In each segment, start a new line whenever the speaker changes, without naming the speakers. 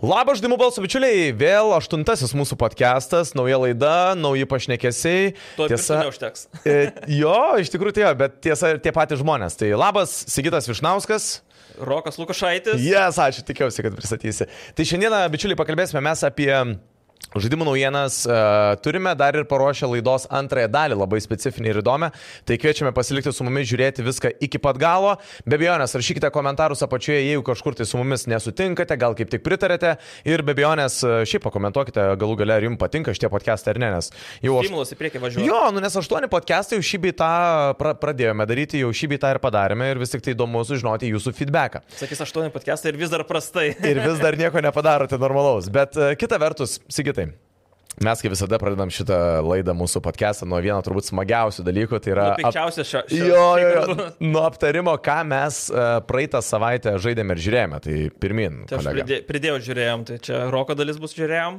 Labas, žaidimų balsų bičiuliai, vėl aštuntasis mūsų podcastas, nauja laida, nauji pašnekesiai.
To tiesa neužteks.
e, jo, iš tikrųjų tai jo, bet tiesa ir tie patys žmonės. Tai labas, Sigitas Višnauskas.
Rokas Lukašaitis.
Jes, ačiū, tikiausi, kad pristatysi. Tai šiandieną, bičiuliai, pakalbėsime mes apie Žaidimų naujienas e, turime dar ir paruošę laidos antrąją dalį, labai specifinį ir įdomią. Tai kviečiame pasilikti su mumis, žiūrėti viską iki pat galo. Be abejonės, rašykite komentarus apačioje, jeigu kažkur tai su mumis nesutinkate, gal kaip tik pritarėte. Ir be abejonės, e, šiaip pakomentuokite galų gale, ar jums patinka šitie podcastai ar ne, nes jau aš...
Stimulas į priekį važiuoja.
Jo, nu nes aštuoni podcastai jau šį bei tą pra pradėjome daryti, jau šį bei tą ir padarėme ir vis tik tai įdomu sužinoti jūsų feedbacką
Sakys, aštuoni podcastai ir vis dar prastai.
ir vis dar nieko nepadarote normalaus. Bet e, kita vertus, Sigitai, mes kaip visada pradedam šitą laidą mūsų podcastą nuo vieno turbūt smagiausių dalykų, tai yra... ap-
Pikčiausias šio. šio-
Jo, jo,
šio-
jo. Nuo aptarimo, ką mes e, praeitą savaitę žaidėme ir žiūrėjome, tai pirmin.
Tai aš
kolega.
pridė, pridėjau žiūrėjom, tai čia Roko dalis bus žiūrėjom.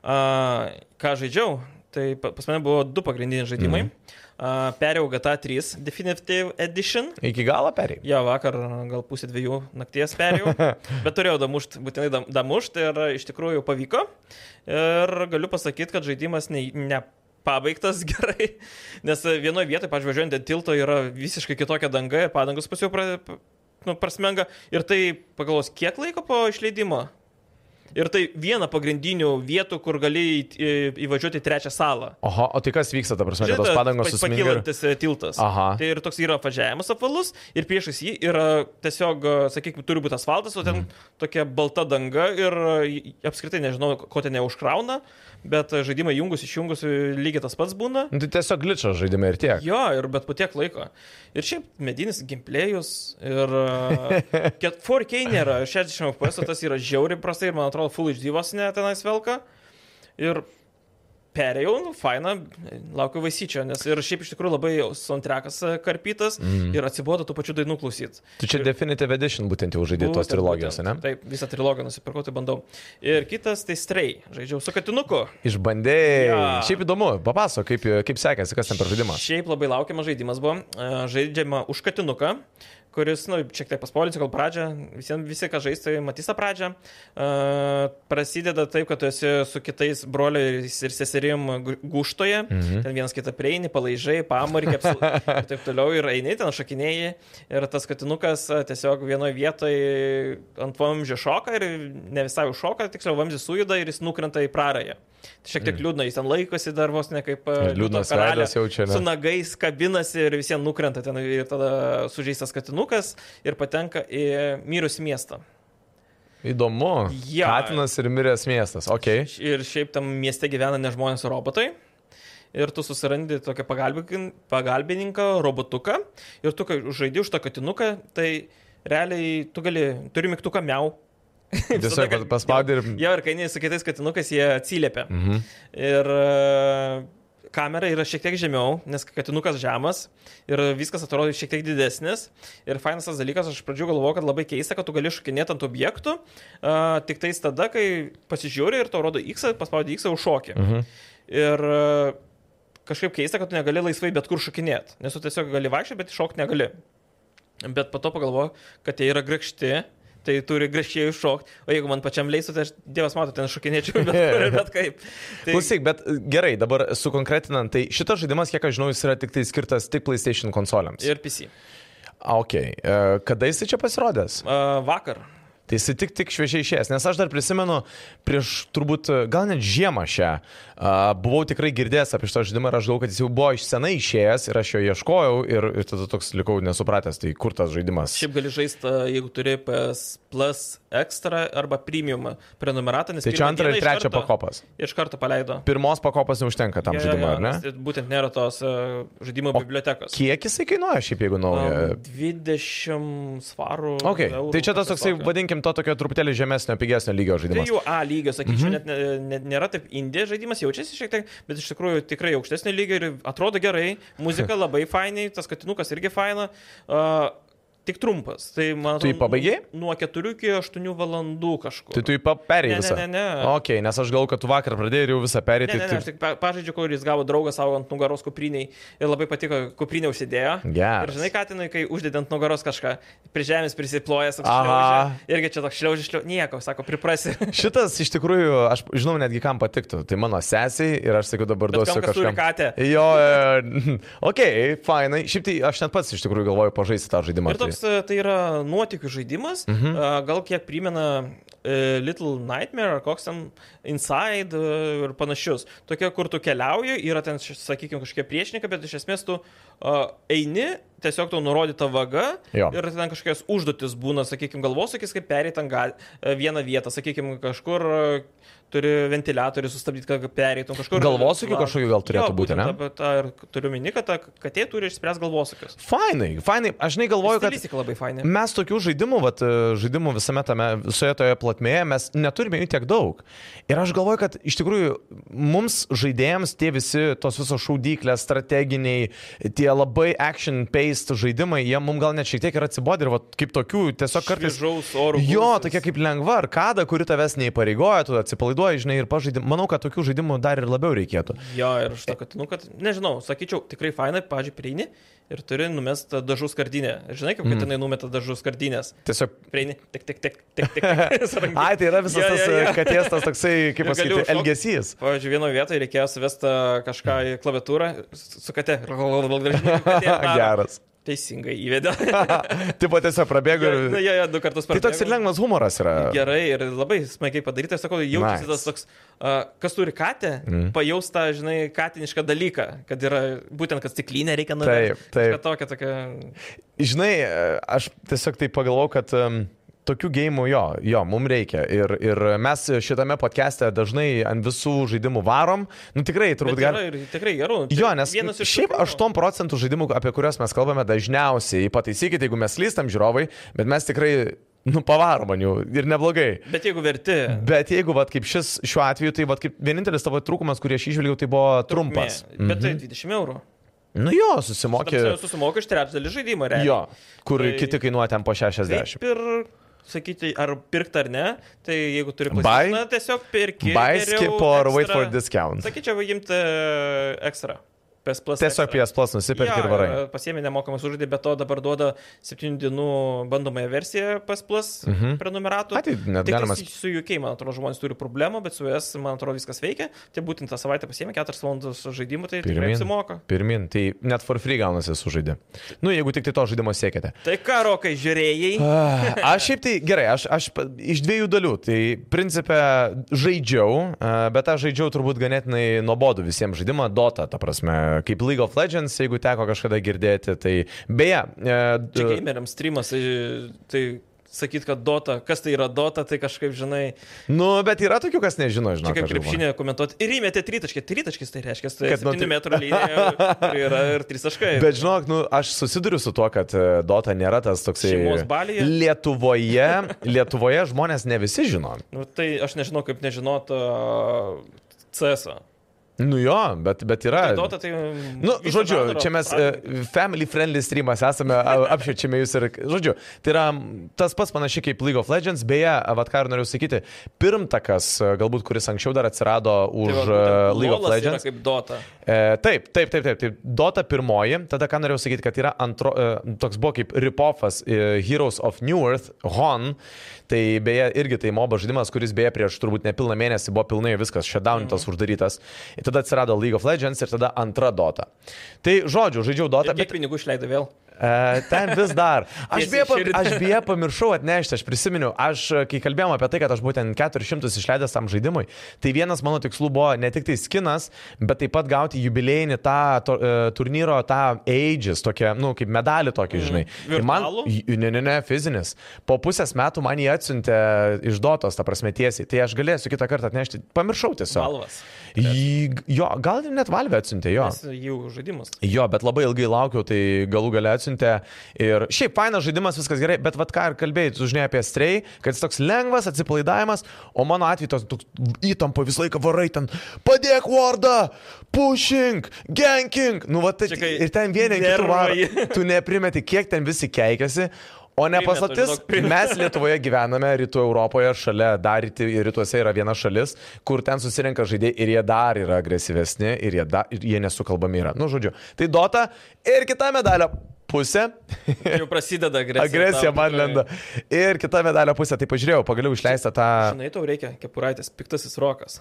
Uh, ką žaidžiau, tai pa- pas mane buvo du pagrindiniai
Mhm.
žaidimai. Mm. Uh, perėjau GTA 3 Definitive Edition.
Iki galo perėjai.
Jo, vakar gal pusė dviejų nakties perėjau, bet turėjau damušt, būtinai dam- damušt ir iš tikrųjų pavyko. Ir galiu pasakyti, kad žaidimas ne, ne pabaigtas gerai, nes vienoje vietoje, pažiūrėjant, dėl tilto yra visiškai kitokia danga ir padangus pas jau pra, nu, prasmenga. Ir tai pagalvos, kiek laiko po išleidimo? Ir tai viena pagrindinių vietų, kur gali į- į- įvažiuoti į trečią salą.
Oho, o tai kas vyksta, ta prasme, kad tos
Žinote,
padangos
pa-
susiminė.
Pakylantis e, tiltas.
Aha.
Tai ir toks yra apvažiavimas apvalus ir priešais jį yra tiesiog, sakykime, turi būti asfaltas, o ten mm. tokia balta danga ir e, apskritai nežinau, ko ten neužkrauna, bet e, žaidimai jungus, išjungus e, lygiai tas pats būna.
Nu, Tai tiesiog glitčas žaidime ir tiek.
Jo, ir bet po tiek laiko. Ir šiaip medinis gimplėjus ir e, ket- 4K nėra, 60 FPS, o tas yra žiauri prastai ir man atrodo Full HD vos ne tenais velka. Ir perėjau, nu, faina, laukiu vaisyčio, nes ir šiaip iš tikrųjų labai soundtrackas e, karpytas
Mhm.
mm. ir atsibodo tų pačių dainų klausyt.
Tu čia Definitive Edition būtent jau žaidė tos
Būtent,
trilogijos, ne?
būtent. Taip, visą trilogiją nusipirkau, tai bandau. Ir kitas tai Stray, žaidžiau su katinuku.
Išbandėjai. Ja.
Jo.
Šiaip įdomu, papasako, kaip, kaip sekėsi, kas ten per žaidimą.
Šiaip labai laukiamas žaidimas buvo. E, Žaidžiama už katinuką, kuris, na, nu, šiek tiek paspolinsiu, gal pradžią. Visiems visi, kas žais, tai matys tą pradžią. E, Prasideda taip, kad tu esi su kitais broliais ir seserim gu- guštoje. Mhm. Ten vienas kitą prieini, palaižai, pamurkė ir taip toliau ir eini ten šakinėjai. Ir tas katinukas e, tiesiog vienoje vietoje ant vamzdžio šoka ir ne visai užšoka, tiksliau vamzdis sujuda ir jis nukrenta į prarąją. Tai šiek tiek liūdna, jis ten laikosi dar vos ne kaip e,
Ir Mhm. liūdnas
Liūto karalė
veidas jaučia, ne?
Su nagais kabinasi ir visiems nukrenta ten ir tada sužeistas katinukas ir patenka į mirusį miestą.
Įdomu.
Jo.
Katinas ir miręs miestas. Ok.
Ir šiaip tam mieste gyvena ne žmonės, o robotai. Ir tu susirandi tokią pagalbikin- pagalbininką, robotuką. Ir tu, kai žaidži už tą katinuką, tai realiai tu gali, turi mygtuką miau. Visada
Tiesiog
gali-
paspaudė ir...
Jo, ir kai eini su kitais katinukais, jie atsiliepia.
Mhm.
Ir e, kamera yra šiek tiek žemiau, nes katinukas žemas ir viskas atrodo šiek tiek didesnis. Ir fainas tas dalykas, aš iš pradžių galvojau, kad labai keista, kad tu gali šokinėti ant objektų, a, tik tais tada, kai pasižiūri ir tau rodo X, paspaudi X, užšoki.
Mhm.
Ir e, kažkaip keista, kad tu negali laisvai bet kur šokinėti, nes tu tiesiog gali vaikščioti, bet šokti negali. Bet po to pagalvoju, kad jie yra grakšti, tai turi gražiai iššokti, o jeigu man pačiam leistų, tai aš Dievas mato, ten šokinėčiau bet kur ir bet kaip. Tai,
Klausyk, bet e, gerai, dabar sukonkretinant, tai šitas žaidimas, kiek aš žinau, jis yra tik tai skirtas tik PlayStation konsolėms. Ir...
ir PC.
Ok, e, kada jis čia pasirodęs?
Uh, vakar.
Tai jis tik, tik šviežiai išėjęs, nes aš dar prisimenu, prieš turbūt e, gal net žiemą šią, a, buvau tikrai girdėjęs apie šitą žaidimą ir aš galvoju, kad jis jau buvo iš senai išėjęs ir aš jo ieškojau ir, ir tada toks likau nesupratęs, tai kur tas žaidimas.
Šiaip gali žaisti, jeigu turi PS Plus Extra arba Premium prenumeratą, nes
Tai čia
pirmą
antrą ir
dieną iš
trečią
karto-
pakopas.
Iš karto paleido.
Pirmos pakopos neužtenka tam
Jo, jo,
žaidimui,
jo,
ar ne?
nes Būtent nėra tos uh, žaidimo bibliotekos.
Kiek jisai kainuoja šiaip, jeigu nauja?
Um, 20 svarų.
Ok,
eurų,
tai čia tas
kažkas
toksai,
tokio.
vadinkim, to tokio truputėlį žemesnio, pigesnio lygio
Tai
žaidimas.
jų A lygio, sakyčiau,
Mhm.
mm -hmm. net ne, ne, nėra taip indė žaidimas, jaučiasi šiek tiek, bet iš tikrųjų tikrai aukštesnio lygio ir atrodo gerai, muzika labai fainai, tas katinukas irgi faina. Uh, tik trumpas. Tai man
Tu jį pabaigei?
Nuo 4 iki 8 valandų kažkur.
Tai tu jį pa- perėjai
Ne,
visą.
ne, ne, ne.
Ok, nes aš galvoju, kad tu vakar pradėjai ir jau visą
Ne,
perėjai.
ne, ne,
tai-
aš tik pa- pažaidžiu, kur jis gavo draugą savo ant nugaros kupriniai ir labai patiko, kuprinė užsidėjo.
Geras.
Ir žinai, Katinai, kai uždedant nugaros kažką, prie žemės prisiplojęs,
Aha.
apšliaužė, irgi čia toks šliaužė, šliaužė, nieko, sako, priprasi.
Šitas iš tikrųjų, aš žinau netgi kam patiktų. Tai mano sesiai ir aš sakiau dabar
Bet
duosiu
kam, kas turi
kažkam.
katę.
Jo, e, ok, fainai. Šiaip tai aš net pats iš tikrųjų galvoju pažaisti tą žaidimą.
Ir toks e, tai yra nuotikių žaidimas,
Mhm.
a, gal kiek primena e, Little Nightmare ar koks ten Inside e, ir panašius. Tokie, kur tu keliauji, yra ten, sakykime, kažkokie priešininkai, bet iš esmės tu a, eini, tiesiog tau nurodyta vaga
Jo.
ir ten kažkokios užduotis būna, sakykime, galvosakis, kaip perėti ten ga- e, vieną vietą, sakykime, kažkur e, turi ventiliatorių sustabdyti, kad pereitum kažkur.
Galvosūkių
Va.
kažkokių gal turėtų
Jo,
būti, ne?
būtent apie tą ir Turiu mini, kad ta katė turi išspręsti galvosakius.
Tai- Fainai, fainai. Aš negalvoju, kad
Stilistika labai fainė.
Mes tokių žaidimų, vat, e, žaidimų visame tame, visoje toje platmėje, mes neturime jų tiek daug. Ir aš galvoju, kad iš tikrųjų mums žaidėjams tie visi, tos visos šaudyklės, strateginiai, tie labai action-paced žaidimai, jie mums gal net šiek tiek ir atsibodė ir vat, kaip tokių tiesiog kartais...
Šviežaus oro
Jo,
gūsis.
tokia kaip lengva arkada, kuri tavęs neįpareigoja, tu atsipalaiduoji, žinai, ir pažaidži. Manau, kad tokių žaidimų dar ir labiau reikėtų.
Jo, ir aš tokia, nu, kad, nežinau, sakyčiau, tikrai fainai, pažiūrėjau, prieini ir turi numestą dažų skardinę. Žinai, kaip mm. katinai numeta dažų skardinės.
Tiesiog...
Prieini, tik, tik, tik, tik, tik. su ranka.
Ai, tai yra visas
Jo,
tas
jo,
e,
jo.
katės tas toksai, kaip
Ir galiu
pasakyti,
užšokt.
elgesys.
Pavyzdžiui, vienoje vietoje reikėjo suvesti kažką į klaviatūrą su su kate.
Geras.
Teisingai įvedė.
Taip, tiesiog prabėgo
Jo,
ir...
jo, jo, du kartus per
Tai toks ir lengvas humoras yra.
Gerai ir labai smagiai padaryta. Aš sakau,
Nice.
jaučiasi nice. tas toks, uh, kas turi katę, mm. pajaustą, žinai, katinišką dalyką, kad yra būtent, kad stiklinę reikia
Taip,
nuvežti.
taip.
Kažką Tokia, tokia,
Žinai, aš tiesiog tai pagalvojau, kad um, tokių gėjimų jo, jo, mums reikia. Ir, ir mes šitame podcast'e dažnai ant visų žaidimų varom. Nu tikrai,
bet
turbūt
yra
gali.
ir tikrai gerų. Tai
Jo, nes
vienas iš
šiaip
tokių.
8 procentų žaidimų, apie kuriuos mes kalbame, dažniausiai, pataisykite, jeigu mes lystam žiūrovai, bet mes tikrai, nu, pavarom ant jų ir neblogai.
Bet jeigu verti,
Bet jeigu, vad, kaip šis šiuo atveju, tai, vad, kaip vienintelis tavo trūkumas, kurį aš išvelgiau, tai buvo trumpas.
Mė,
Mhm.
bet tai 20 eurų.
Nu jo,
Ta prasme,
susimokė.
Susimokai iš trečdalį žaidimą, realiai.
Jo, kur
Tai-
kiti kainuoja ten po 60.
Taip ir sakyti, ar pirkt ar ne, tai jeigu turi
Buy-
na, tiesiog pirki.
Buy,
geriau
skip or wait
extra.
for discount.
Sakyčiau, imti e, ekstra. PS Plus
Tiesiog
Extra.
PS Plus nusipirk ir varai.
e, Pasiemi nemokamas užduotį, bet to dabar duoda 7 dienų bandomąją versiją PS Plus
Mhm.
prenumeratų.
Ai, tai net
Tik
galima
galima... su UK, man atrodo, žmonės turi problemų, bet su US, man atrodo, viskas veikia. Tai būtent tą savaitę pasiemi 4 valandas žaidimų, tai tikrai
Pirmyn.
apsimoka.
pirmin. Tai net for free gaunasi sužaidė. Nu, jeigu tik tai to žaidimo siekite.
Tai ką, rokai, žiūrėjai?
Ah, Aš šiaip tai gerai, aš, aš pa- iš dviejų dalių. Tai principė žaidžiau, a, bet aš žaidžiau turbūt ganėtinai nuobodų visiems žaidimą Dota, ta prasme, kaip League of Legends, jeigu teko kažkada girdėti. Tai beje, e, d-
Čia gameriams streamas, tai- tai sakyt, kad Dota, kas tai yra Dota, tai kažkaip, žinai,
nu, bet yra tokių, kas nežino,
čia
žinau.
kaip krepšinė komentuoti. Ir įmėtė tritaškį, tritaškis tai reiškia, tai
Kad nuo
7
tri-
metrų linija kuri yra ir 3 taškai. Tai
Bet žinok, nu, aš susiduriu su tuo, kad e, Dota nėra tas toksai.
Šeimos balija?
Lietuvoje, Lietuvoje žmonės ne visi žino.
Nu, tai aš nežinau, kaip nežinot uh, CS. -o.
Nu jo, bet, bet yra.
Tai Dota, tai...
Nu, žodžiu, čia mes e, family friendly streamas esame, a- apšviečiame jūs ir, žodžiu, tai yra m, tas pats panašiai kaip League of Legends, beje, vad ką ir noriu sakyti, pirmtakas, e, galbūt, kuris anksčiau dar
Tai
atsirado už e, League of Legends.
Kaip Dota.
E, taip, taip, taip, taip, taip. Dota pirmoji, tada ką norėjau sakyti, kad yra antro, e, toks buvo kaip Ripoffas e, Heroes of New Earth, Hon. Tai beje, irgi tai mobo žaidimas, kuris beje prieš turbūt nepilną mėnesį buvo pilnai viskas, shutdownintas, mm. uždarytas. Ir tada atsirado League of Legends ir tada antra Dota. Tai žodžiu, žaidžiau Dota,
Kiek
bet
bet... pinigų išleido vėl?
E, ten vis dar. Aš
Tiesiai
beje, pa,
širdį.
aš beje pamiršau atnešti, aš prisiminiau, aš e, kai kalbėjom apie tai, kad aš būtent 400 išleidęs tam žaidimui, tai vienas mano tikslų buvo ne tik tai skinas, bet taip pat gauti jubilėjinį tą to, e, turnyro, tą ages, tokią, nu, kaip medalį tokį, žinai.
Mhm.
Ir man,
Virtualų?
J- Ne, ne, ne, fizinis. Po pusės metų man jį atsiuntė iš dotos, ta prasme tiesiai. Tai aš galėsiu kitą kartą atnešti. Pamiršau tiesiog.
Salvas.
Jį, jo, gal net valvę atsiuntė, jo.
Jų žaidimas.
Jo, bet labai ilgai laukiau, tai galų gale atsiuntė atsiuntė. Ir šiaip, fainas žaidimas, viskas gerai, bet vad ką ir kalbėjai, tu žinai apie strei, kad jis toks lengvas, atsipalaidavimas, o mano atveju tos toks įtampa visą laiką varai ten, padėk vardą, pushing, ganking, nu va tai
Čia kai
ir ten vieni ant kitų varo,
nervai.
tu neprimeti, kiek ten visi keikiasi. O ne
Primeta,
paslaptis,
žinok, primeta.
mes Lietuvoje gyvename, rytų Europoje, šalia dar ryti- rytuose yra viena šalis, kur ten susirenka žaidėjai ir jie dar yra agresyvesni ir jie, da, ir jie nesukalbami yra. Nu, žodžiu, tai Dota ir kita medalio pusė.
Jau prasideda agresija.
Agresija
tau
man
tikrai.
lenda. Ir kita medalio pusė, tai pažiūrėjau, pagaliau išleista tą...
Žinai, tau reikia kepuraitės, piktasis rokas.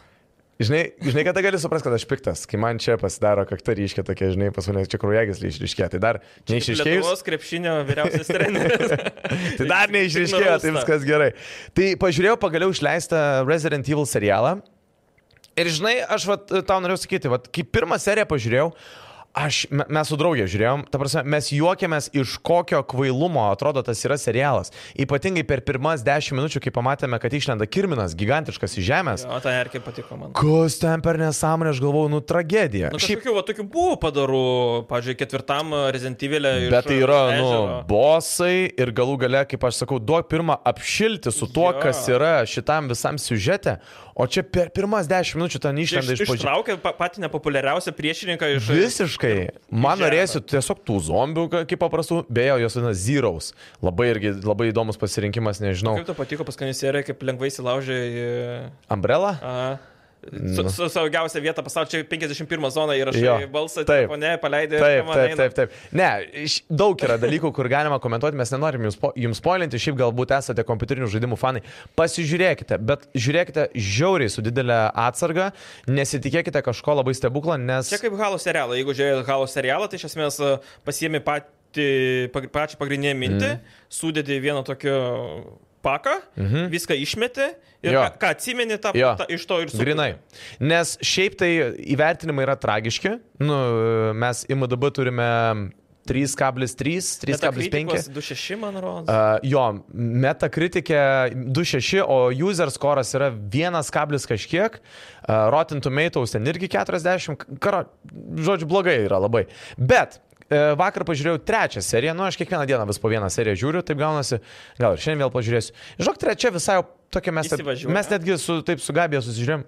Žinai, žinai kada gali suprasti, kad aš piktas, kai man čia pasidaro kakta ryškia tokia, žinai, pas mane čia krujagis ryškia, tai dar neišriškėjus.
Lietuvos krepšinio vyriausias treneris.
tai dar neišriškėjo, tai viskas gerai. Tai pažiūrėjau pagaliau išleistą Resident Evil serialą. Ir žinai, aš vat, tau noriu sakyti, vat, kai pirmą seriją pažiūrėjau, aš, me- mes su draugė žiūrėjom, ta prasme, mes juokėmės iš kokio kvailumo atrodo tas yra serialas. Ypatingai per pirmas dešimt minučių, kai pamatėme, kad išlenda Kirminas, gigantiškas iš žemės.
O ta erkė tai patiko man.
Kas ten per nesąmonę, aš galvau, nu tragedija.
Na, kažkokių, va, tokių buvo padarų, pavyzdžiui, ketvirtam rezentybėlė.
Bet tai yra, nu, bosai ir galų gale, kaip aš sakau, duok pirmą apšilti su tuo,
Jo.
ja. kas yra šitam visam siužete, o čia per pirmas dešimt minučių ten išlenda
Iš,
iš pažiūrėjimo.
ištraukė pa- patį nepopuliariausią priešininką iš...
Visiškai. Man
žemę.
norėsiu tiesiog tų zombių, ka- kaip paprastų, beje, jos vadina Zeros. Labai irgi labai įdomus pasirinkimas, nežinau.
Kaip tau patiko paskutinė serija, kaip lengvai įsilaužė į...
Umbrella?
A, su, su saugiausia vieta pasaulyje, čia 51
Nu.
zona
Jo.
įrašai balsą,
Taip.
telefone, paleidai ir nu.
Taip,
man
taip,
eina.
taip, taip. Ne, iš- daug yra dalykų, kur galima komentuoti, mes nenorim jums, po, jums spoilinti, šiaip galbūt esate kompiuterinių žaidimų fanai. Pasižiūrėkite, bet žiūrėkite žiauriai su didelė atsarga, nesitikėkite kažko labai stebuklą, nes...
Čia kaip Halo serialą. Jeigu žiūrėjai Halo serialą, tai iš esmės e, pasiėmė patį, pag- pačią pagrindinę mintį,
Mhm.
mm. sudėdė į vieną tokį paką, mm -hmm. viską išmetė ir
Mhm. Jo.
ką, ką atsimeni tą,
Jo.
tą, iš to ir sudėdė.
Grinai. Nes šiaip tai įvertinimai yra tragiški. Nu, mes IMDB turime 3,3, 3,5.
2,6 man rodo.
Uh, jo, metakritikė 2.6, o user scoras yra 1, kablis kažkiek, uh, Rotten Tomatoes ten irgi 40, karo, žodžiu, blogai yra labai. Bet uh, vakar pažiūrėjau trečią seriją, nu aš kiekvieną dieną vis po vieną seriją žiūriu, taip gaunasi, gal ir šiandien vėl pažiūrėsiu. Žinok, trečia visai jau tokia mes,
Įsivažiuoja.
mes netgi su, taip su Gabija susižiūrėjom,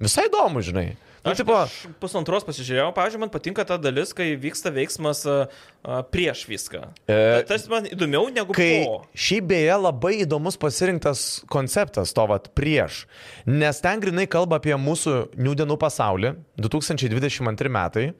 visai įdomu, žinai. Nu,
Aš,
tipo,
aš pusantros pasižiūrėjau, pavyzdžiui, man patinka ta dalis, kai vyksta veiksmas a, a, prieš viską.
E,
E, Tas man įdomiau negu
Kai
po.
šiaip beje labai įdomus pasirinktas konceptas to vat prieš, nes ten grinai kalba apie mūsų nūdienų pasaulį, 2022 metai.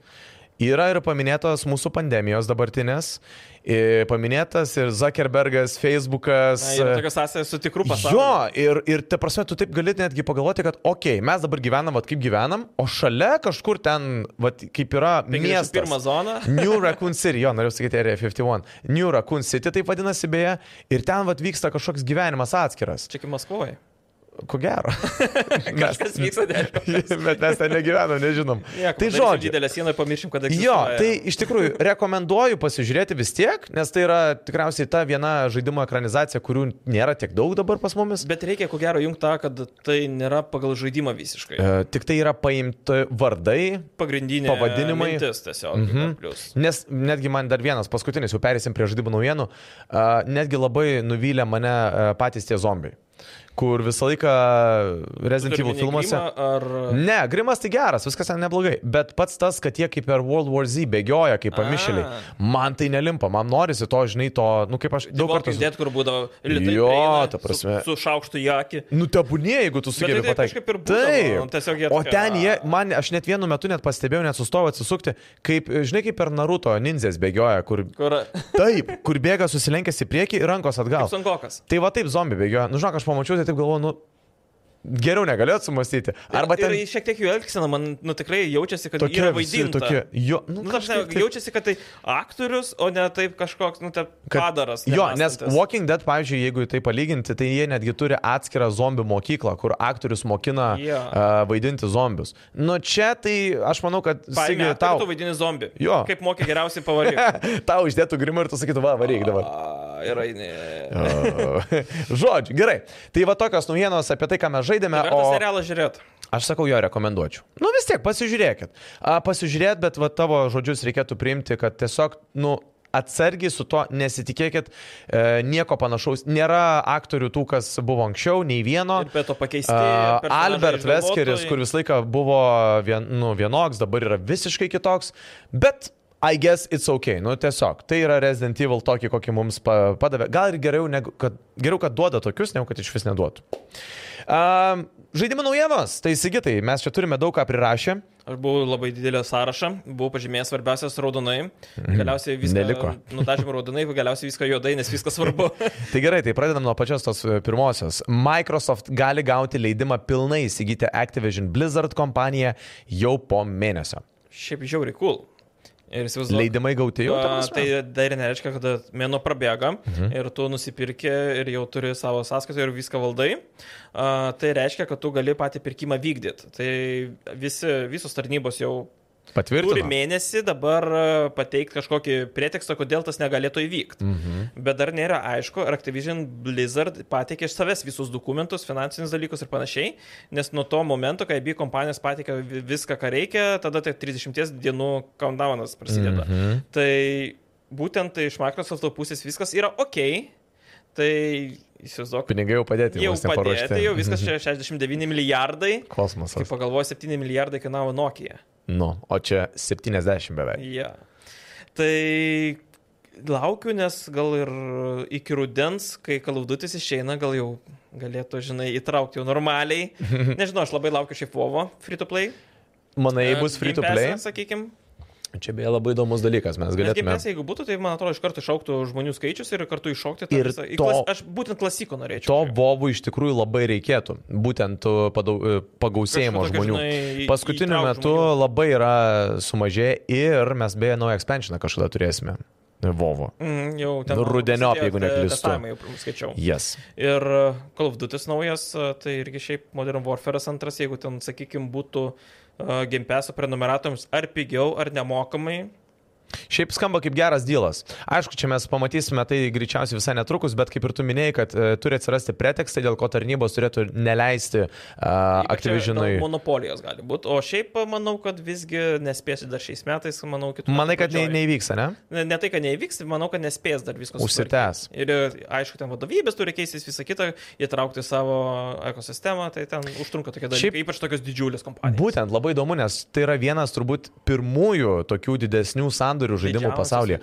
Yra ir paminėtos mūsų pandemijos dabartinės, i- paminėtas ir Zuckerbergas, Facebookas.
Na, ir tokios sąsajos su tikru pasauliu.
Jo, ir, ir te prasme, tu taip gali netgi pagalvoti, kad, okei, okay, mes dabar gyvenam, vat kaip gyvenam, o šalia kažkur ten, vat kaip yra miestas.
Pirmą zoną.
New Raccoon City, jo, norėjau sakyti Area 51. New Raccoon City taip vadinasi beje, ir ten vat vyksta kažkoks gyvenimas atskiras.
Čia kaip Maskvoje.
Ko gero.
Kažkas vyksta dėl.
Bet mes ten negyvenam, nežinom. tai žodžiu.
Didelė siena, pamiršim, kad
Jo,
egzistuoja.
tai iš tikrųjų rekomenduoju pasižiūrėti vis tiek, nes tai yra tikriausiai ta viena žaidimo ekranizacija, kurių nėra tiek daug dabar pas mumis.
Bet reikia, ko gero, jungti tą, kad tai nėra pagal žaidimą visiškai.
E, Tik tai yra paimti vardai,
Pagrindinė
pavadinimai. Mhm.
mintis tiesiog. Mm -hmm.
Nes netgi man dar vienas, paskutinis, jau perėsim prie žaidimų naujienų, a, netgi labai nuvylė mane a, patys tie zombiai, kur visą laiką Resident Evil filmuose.
Ar...
Ne, Grimas tai geras, viskas ten neblogai, bet pats tas, kad jie kaip per World War Z bėgioja kaip pamišėliai, man tai nelimpa, man norisi to, žinai, to, nu kaip
Tai
aš daug kartų...
Dėt, kur būdavo litai.
Jo,
prieina
ta prasme.
Su, su šaukštu į akį.
Nu, tebūnie, jeigu tu sugebi
Bet tai
pataikyti.
taip kažkaip ir būdavo, tiesiog jie
O
tokie,
ten jie,
a.
man, aš net vienu metu net pastebėjau, net sustojau atsisukti, kaip, žinai, kaip per Naruto ninzės bėgioja, kur
Kur...
Taip, kur bėga susilenkęs į priekį ir rankos atgal.
Sunkokas.
Tai va taip zombi bėgioja. Nu, žinok, aš pamačiau, tai taip galvoju, nu, geriau negaliu atsumastyti. Arba ten
Ir šiek tiek jų elgsena, man nu, tikrai jaučiasi, kad
tokie
yra
visi,
vaidinta.
tokie. Jo, nu,
Nu, ta prasme,
kažkaip taip-
jaučiasi, kad tai aktorius, o ne taip kažkoks, nu, taip,
kad-
padaras.
Jo, nes
nemąstantis.
Walking Dead, pavyzdžiui, jeigu tai palyginti, tai jie netgi turi atskirą zombių mokyklą, kur aktorius mokina
Jo.
yeah. uh, vaidinti zombius. Nu, čia tai aš manau, kad
Paėmė,
Sigi,
tau...
tau,
tu vaidini zombį.
Jo.
Kaip mokė geriausiai pavaryti.
tau išdėtų grimą ir tu sakytum, va, varyk dabar.
Ir eini.
O, Žodžiu, gerai. Tai va tokios naujienos apie tai, ką mes žaidėme.
Verta
o-
serialą žiūrėt.
Aš sakau, jo rekomenduočiau. Nu vis tiek, pasižiūrėkit. A, pasižiūrėt, bet va tavo žodžius reikėtų priimti, kad tiesiog, nu, atsargiai su to nesitikėkit, e, nieko panašaus. Nėra aktorių tų, kas buvo anksčiau, nei vieno.
Ir be to pakeisti.
A,
tai personažai,
Albert
žaibuotojai.
Veskeris, kur visą laiką buvo vien, nu, vienoks, dabar yra visiškai kitoks, bet I guess it's okay, nu tiesiog. Tai yra Resident Evil tokį, kokį mums pa- padavė. Gal ir geriau, negu, kad, geriau, kad duoda tokius, negu kad iš vis neduotų. Um, žaidimų naujienos, tai įsigitai, mes čia turime daug ką prirašę.
Aš buvau labai didelį sąrašą, buvau pažymėjęs svarbiausias raudonai, galiausiai viską
Mhm. Neliko.
Nudažėm raudonai, galiausiai viską juodai, nes viskas svarbu.
Tai gerai, tai pradedam nuo pačios tos e, pirmosios. Microsoft gali gauti leidimą pilnai įsigyti Activision Blizzard kompaniją jau po mėnesio.
Šiaip žiauriai cool. Ir įsivaizduoju.
Leidimai gauti jau. ta
a,
prasme?
Tai dar nereiškia, kad mėno prabėga mhm. ir tu nusipirki ir jau turi savo sąskaitą ir viską valdai. A, tai reiškia, kad tu gali patį pirkimą vykdyti. Tai visi, visos tarnybos jau turi
Patvirtino.
mėnesį dabar a, pateikti kažkokį pretekstą, kodėl tas negalėtų įvykti. Mhm. Bet dar nėra aišku, ar Activision Blizzard pateikė iš savęs visus dokumentus, finansinius dalykus ir panašiai, nes nuo to momento, kai abi kompanijos pateikė vi- viską, ką reikia, tada tai 30 dienų countdownas prasideda. Mhm. Tai būtent tai iš Microsoft pusės viskas yra ok, tai įsivaizduok,
Pinigai jau padėti,
jau
vos
padėti,
neparuošti.
jau viskas čia 69 milijardai. Kaip
Kosmosas.
pagalvoju, 7 milijardai kainavo Nokia.
Nu, o čia 70 beveik.
Ja. Tai laukiu, nes gal ir iki rudens, kai kalaudutis išeina, gal jau galėtų, žinai, įtraukti jau normaliai. Nežinau, aš labai laukiu šiaip Vovo free to play.
Manai,
E,
Tai bus free to
Game
play.
Pass'e, Sakykim.
Čia beje labai įdomus dalykas, mes
Nes
galėtume.
gimnasija, jeigu būtų, tai man atrodo, iš karto išauktų žmonių skaičius ir kartu iššokti. tą
Ir
visą- į
to-
klas- Aš būtent klasiko norėčiau.
To vovų iš tikrųjų labai reikėtų, būtent tų padau- uh, pagausėjimo
Kažkokio,
žmonių.
žinai, į-
Paskutiniu
įtraukt
metu
žmonių.
labai yra sumažėję ir mes beje naują expansioną kažkada turėsime. Vovo.
Mm, jau
Nu,
ten
rudeniop,
prasidėjo
jeigu
te-
neklystu.
testavimai Jau skaičiau.
Yes.
Ir e, Call of Duty naujas, e, tai irgi šiaip Modern Warfare antras, jeigu ten, sakykime, būtų gimpeso prenumeratoriams ar pigiau, ar nemokamai.
Šiaip skamba kaip geras dylas. Aišku, čia mes pamatysime tai greičiausiai visai netrukus, bet kaip ir tu minėjai, kad e, turi atsirasti pretekstai, dėl ko tarnybos turėtų neleisti uh,
Ypač, e,
Activisionui.
dėl Monopolijos gali būti. O šiaip e, manau, kad visgi nespėsi dar šiais metais, manau, kitų.
Manai,
metų
kad nei,
pradžioj.
neįvyks, ne?
Ne, ne tai, kad neįvyks, manau, kad nespės dar viskas.
Užsitęs.
sutvarkyt. Ir e, aišku, ten vadovybės turi keistis visą kitą, įtraukti savo ekosistemą, tai ten užtrunka tokie dalykai.
Šiaip-
Šiaip, ypač tokios didžiulės kompanijos.
Būtent labai įdomu, nes tai yra vienas turbūt pirmųjų tokių didesnių sandorių žaidimų
Didžiausias.
pasaulyje.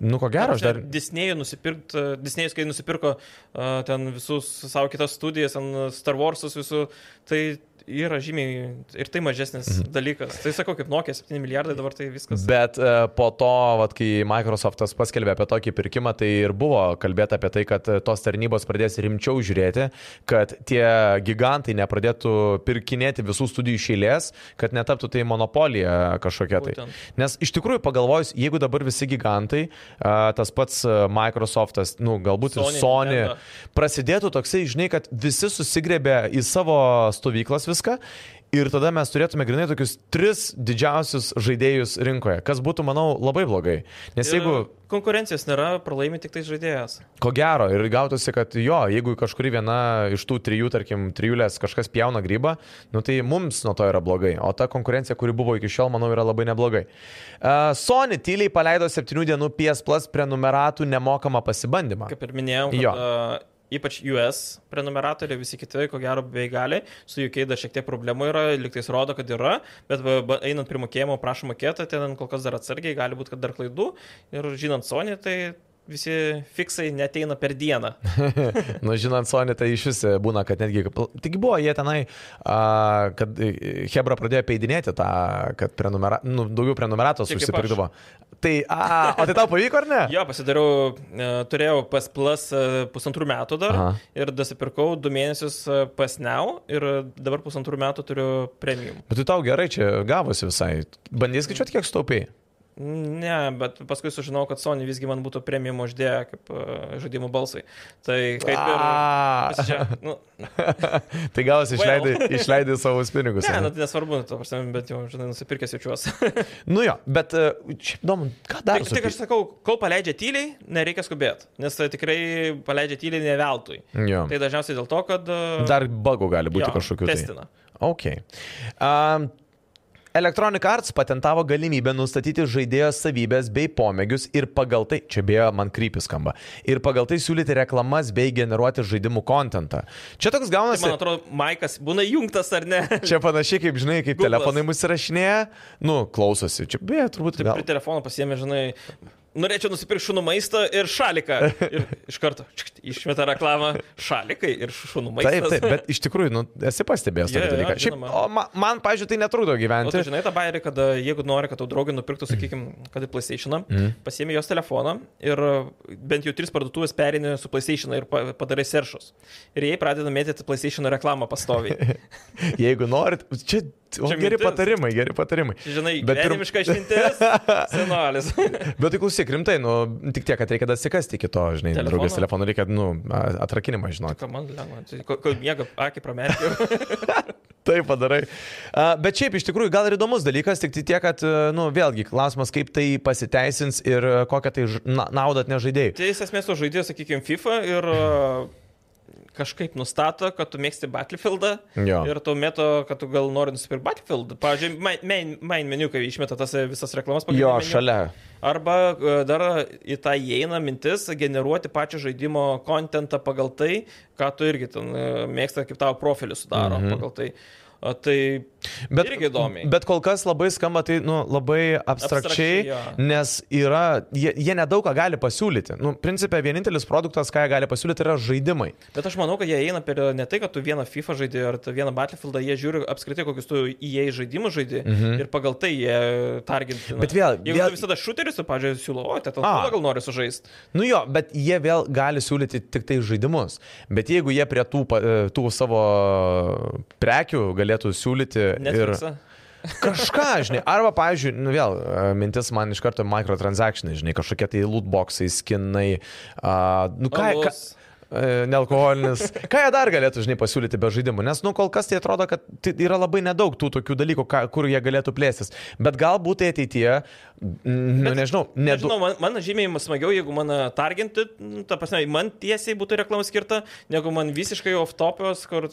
Nu, ko gero, aš dar...
Disney'ui nusipirkt, Disney'us, kai nusipirko a, ten visus savo kitas studijas, ten Star Warsus visų, tai yra žymiai ir tai mažesnis
Mhm.
dalykas. Tai sakau, kaip Nokia 7 milijardai dabar tai viskas.
Bet e, po to, vat, kai Microsoftas paskelbė apie tokį pirkimą, tai ir buvo kalbėta apie tai, kad e, tos tarnybos pradės rimčiau žiūrėti, kad tie gigantai nepradėtų pirkinėti visų studijų iš eilės, kad netaptų tai monopolija kažkokia tai.
Būtent.
Nes iš tikrųjų pagalvojus, jeigu dabar visi gigantai, a, tas pats a, Microsoftas, nu, galbūt
Sony,
ir Sony,
Nintendo.
prasidėtų toksai, žinai, kad visi susigrebė į savo stovyklas viską. Ir tada mes turėtume grinai tokius tris didžiausius žaidėjus rinkoje, kas būtų, manau, labai blogai. Nes
Ir
jeigu,
Konkurencijos nėra, pralaimi tik tai žaidėjas.
ko gero, ir gautųsi, kad jo, jeigu kažkuri viena iš tų trijų, tarkim, trijulės kažkas pjauna grybą, nu tai mums nuo to yra blogai. O ta konkurencija, kuri buvo iki šiol, manau, yra labai neblogai. Uh, Sony tyliai paleido septynių dienų PS Plus prenumeratų nemokamą pasibandymą.
Kaip ir minėjau,
Jo.
kad, a, ypač US prenumeratoriai, visi kiti, ko gero, bei gali, su UK dar šiek tiek problemų yra, liktais rodo, kad yra, bet va, ba- einant prie mokėjimo, prašom mokėti, ten kol kas dar atsargiai, gali būti, kad dar klaidų ir žinant Sony, tai visi fiksai neteina per dieną.
Na, žinant, Sony, tai iš vis būna, kad netgi... Tik buvo jie tenai, a, kad e, Hebra pradėjo peidinėti tą, kad prenumera, nu, daugiau prenumeratos
Čia kaip
užsipirkdavo. Tai, a, o tai tau pavyko ar ne?
Jo, pasidariau, e, turėjau pas plus e, pusantrų metų dar Aha.
Aha.
ir dasipirkau du mėnesius e, pas Neu ir dabar pusantrų metų turiu premium.
Bet tai tau gerai čia gavosi visai. Bandys skaičiuoti, kiek staupiai.
Ne, bet paskui sužinojau, kad Sony visgi man būtų premium uždėję kaip e, žaidimų balsai. Tai kaip ir... pasižiūrėjau, Nu,
tai gavosi,
Well.
išleidai, išleidai savo pinigus.
ne,
ar ne?
nu, tai nesvarbu, nu, to prasme, bet jau, žinai, nusipirkęs jaučiuosi. Tai
Nu jo, bet e, šiaip įdomu, ką dar
Tik, tik aš sakau, kol paleidžia tyliai, nereikia skubėti, nes tai tikrai paleidžia tyliai ne veltui.
Jo.
Tai dažniausiai dėl to, kad... e,
Dar bagų gali būti
jo,
kažkokiu. Tai.
Testina.
Ok. Um, Electronic Arts patentavo galimybę nustatyti žaidėjo savybės bei pomėgius ir pagal tai, čia beje man krypis skamba, ir pagal tai siūlyti reklamas bei generuoti žaidimų kontentą. Čia toks
Tai,
gaunasi...
man atrodo, Maikas būna jungtas ar ne?
Čia panašiai kaip, žinai, kaip
Google'as.
telefonai mus rašinėja, nu, klausosi. Čia, beje, turbūt
Taip,
gal...
prie telefono pasiemi, žinai, norėčiau nusipirkti šunų maistą ir šaliką. Ir iš karto čikšt, išmeta reklamą šalikai ir šunų maistas.
Taip, taip, bet iš tikrųjų, nu, esi pastebėjęs tokį
Jo, jo,
dalyką. Šiaip,
žinoma.
o ma, man, pažiūrėjau, tai netrūdo
O tu
gyventi.
žinai tą bairį, kad jeigu nori, kad tau draugai nupirktų, sakykime, kad ir PlayStation, mm. pasiemi jos telefoną ir bent jau tris parduotuvės perini su PlayStation ir pa- padarai seršus. Ir jie pradeda mėtyti PlayStation reklamą pastoviai.
Jeigu norit, čia, o,
Čia
geri
mintis.
patarimai, geri patarimai.
Žinai,
Bet pirm-
gyvenimiška išmintis, senolis.
Bet tai klausyk, rimtai, nu, tik tiek, kad reikia dasikasti iki to, žinai,
Telefono?
draugės telefonų, reikia, nu, a- atrakinimą žinoti.
Ką man lengva, tai ko- kol miega, akį pramerkiu.
Tai padarai. A, Bet šiaip, iš tikrųjų, gal ir įdomus dalykas, tik tai tiek, kad, a, nu, vėlgi, klausimas, kaip tai pasiteisins ir a, kokią tai ž- na- naudą atneš žaidėjai.
Tai jis esmės sužaidė, sakykime, FIFA ir a, kažkaip nustato, kad tu mėgsti Battlefieldą
Jo.
ir tu meto, kad tu gal nori nusipirkti Battlefield. Pavyzdžiui, main- main, main meniu, kai išmeta tas e, visas reklamas pagrindinio
Jo,
meniu.
šalia.
Arba e, dar į tą įeina mintis generuoti pačią žaidimo kontentą pagal tai, ką tu irgi ten e, mėgsta, kaip tavo profilį sudaro
Mhm.
mm -hmm. pagal tai. O tai
Bet,
Irgi įdomiai.
bet kol kas labai skamba tai nu, labai
Abstrakčiai,
abstrakčiai,
jo.
abstrakčiai nes yra, jie, jie nedaug ką gali pasiūlyti. Nu, principė, vienintelis produktas, ką jie gali pasiūlyti, yra žaidimai.
Bet aš manau, kad jie eina per ne tai, kad tu vieną FIFA žaidži ar tu vieną Battlefieldą, jie žiūri apskritai, kokius tu įėjai žaidimus žaidži mhm. ir pagal tai jie targinti.
Bet vėl-
Jeigu
vėl-
tu visada šuteris, tu, pažiūrėjau, siūlo, o, tai
A.
gal nori sužaisti.
Nu jo, bet jie vėl gali siūlyti tik tai žaidimus. Bet jeigu jie prie tų, pa- e, tų savo prekių galėtų siūlyti ir
Netflixą.
kažką, žinai, arba, pavyzdžiui, nu vėl, e, mintis man iš karto microtransactionai, žinai, kažkokie tai lootboxai, skinai, a, nu ką, ką,
Alus.
E, nealkoholinis. Ką jie dar galėtų, žinai, pasiūlyti be žaidimų? Nes, nu, kol kas tai atrodo, kad tai yra labai nedaug tų tokių dalykų, ką, kur jie galėtų plėstis. Bet galbūt tai ateityje, mm, nu, nežinau, nedaug.
Nežinau, man, man žymiai smagiau, jeigu man targinti, nu, ta prasme, man tiesiai būtų reklama skirta, negu man visiškai off topios, kur...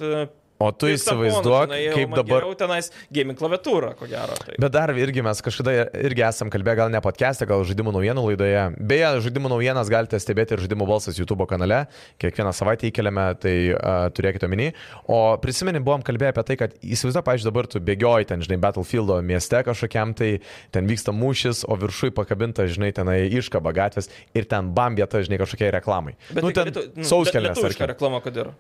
O tu įsivaizduok, kaip dabar.
Jau tenais gaming klaviatūra, ko gero. Tai.
Bet dar irgi mes kažkada irgi esam kalbėję, gal ne podcast'e, gal žaidimų naujienų laidoje. Beje, žaidimų naujienas galite stebėti ir žaidimų balsas YouTube kanale. Kiekvieną savaitę įkeliame, tai uh, turėkite omeny. O prisimeni, buvom kalbėję apie tai, kad įsivaizduoju, pažiūrėjau, dabar tu bėgioji ten, žinai, Battlefield'o mieste kažkokiam, tai ten vyksta mūšis, o viršui pakabinta, žinai, tenai iškaba gatvės ir ten bam vieta, žinai, kažkokiai reklamai. Bet
tai
nu, ten sauskelės,
Ar
tarkim.
kažkokia reklama, kad yra?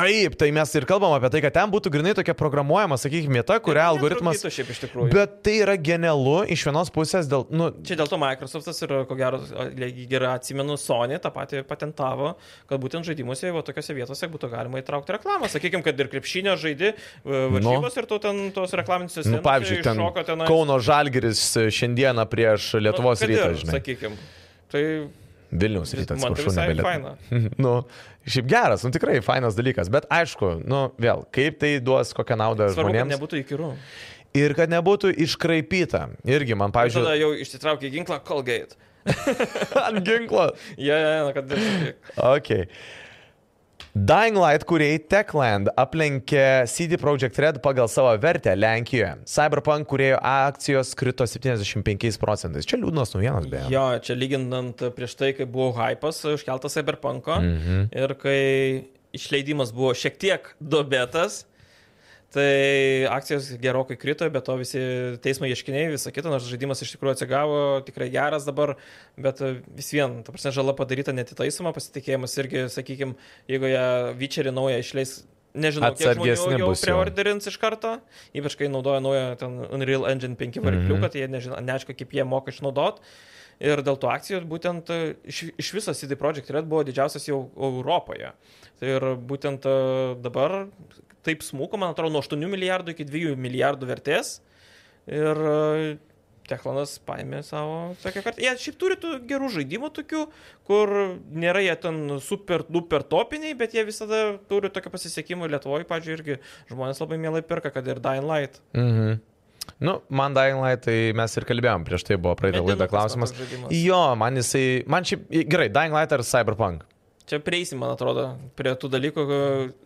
Taip, tai mes ir kalbam apie tai, kad ten būtų grinai tokia programuojama, sakykime, vieta, kurią algoritmas...
Netrukdytų Šiaip iš tikrųjų.
Bet tai yra genialu iš vienos pusės dėl, nu,
Čia dėl to Microsoftas ir, ko gero, jeigu gerai atsimenu, Sony tą patį patentavo, kad būtent žaidimuose, va tokiose vietose būtų galima įtraukti reklamą. Sakykime, kad ir krepšinio žaidi varžybos no. ir tu ten tos reklaminės
nu pavyzdžiui, ten Kauno Žalgeris šiandieną prieš
Nu,
Lietuvos rytą, žinai.
Sakykime. Tai
Vilniaus
vis-
rytą,
man tai
atsiprašau,
visai faina.
nebelietuvos. Nu, šiaip geras, nu tikrai fainas dalykas, bet aišku, nu vėl, kaip tai duos kokią naudą
svarbu, kad
žmonėms.
nebūtų įkyrų.
Ir kad nebūtų iškraipyta. Irgi man,
Ir Tada
pavyzdžiui,
jau išsitraukė ginklą Colgate.
ant ginklo.
Jie, ja, kad...
Ok. Dying Light kuriai Techland aplenkė CD Projekt Red pagal savo vertę Lenkijoje. Cyberpunk kuriejo akcijos krito 75 procentais. Čia liūdnos naujienos beje.
Jo, čia lyginant prieš tai, kai buvo hypas užkeltas Cyberpunk'o mhm. ir kai išleidimas buvo šiek tiek dubetas, tai akcijos gerokai krito, bet to visi teismo ieškiniai, visa kita, nors žaidimas iš tikrųjų atsigavo, tikrai geras dabar, bet vis vien, ta prasme, žala padaryta netitaisoma, pasitikėjimas irgi, sakykime, jeigu jie Vyčerį naują išleis. Nežinau, kiek
Atsargesni
žmonių jau
bus jau.
preorderins iš karto, ypač kai naudoja naują ten Unreal Engine 5 varikliuką, mm -hmm. tai jie nežino, neaišku, kaip jie moka išnaudot. Ir dėl to akcijų būtent e, iš, iš viso CD Projekt Red buvo didžiausias jau Europoje. Tai ir būtent e, dabar taip smūko, man atrodo, nuo 8 milijardų iki 2 milijardų vertės. Ir e, Techlanas paėmė savo tokią kartą. Jie šiaip turi tų gerų žaidimų tokių, kur nėra jie ten super, duper topiniai, bet jie visada turi tokio pasisekimo Lietuvoje, pažiūrėjau, irgi žmonės labai mielai pirka, kad ir Dying Light.
Mhm. Nu, man Dying Light, tai mes ir kalbėjom, prieš tai buvo praeitą laidą
Medinukas man
klausimas.
toks žaidimas.
Jo, man jisai, man šiaip, gerai, Dying Light ar Cyberpunk?
Čia prieisim, man atrodo, prie tų dalykų.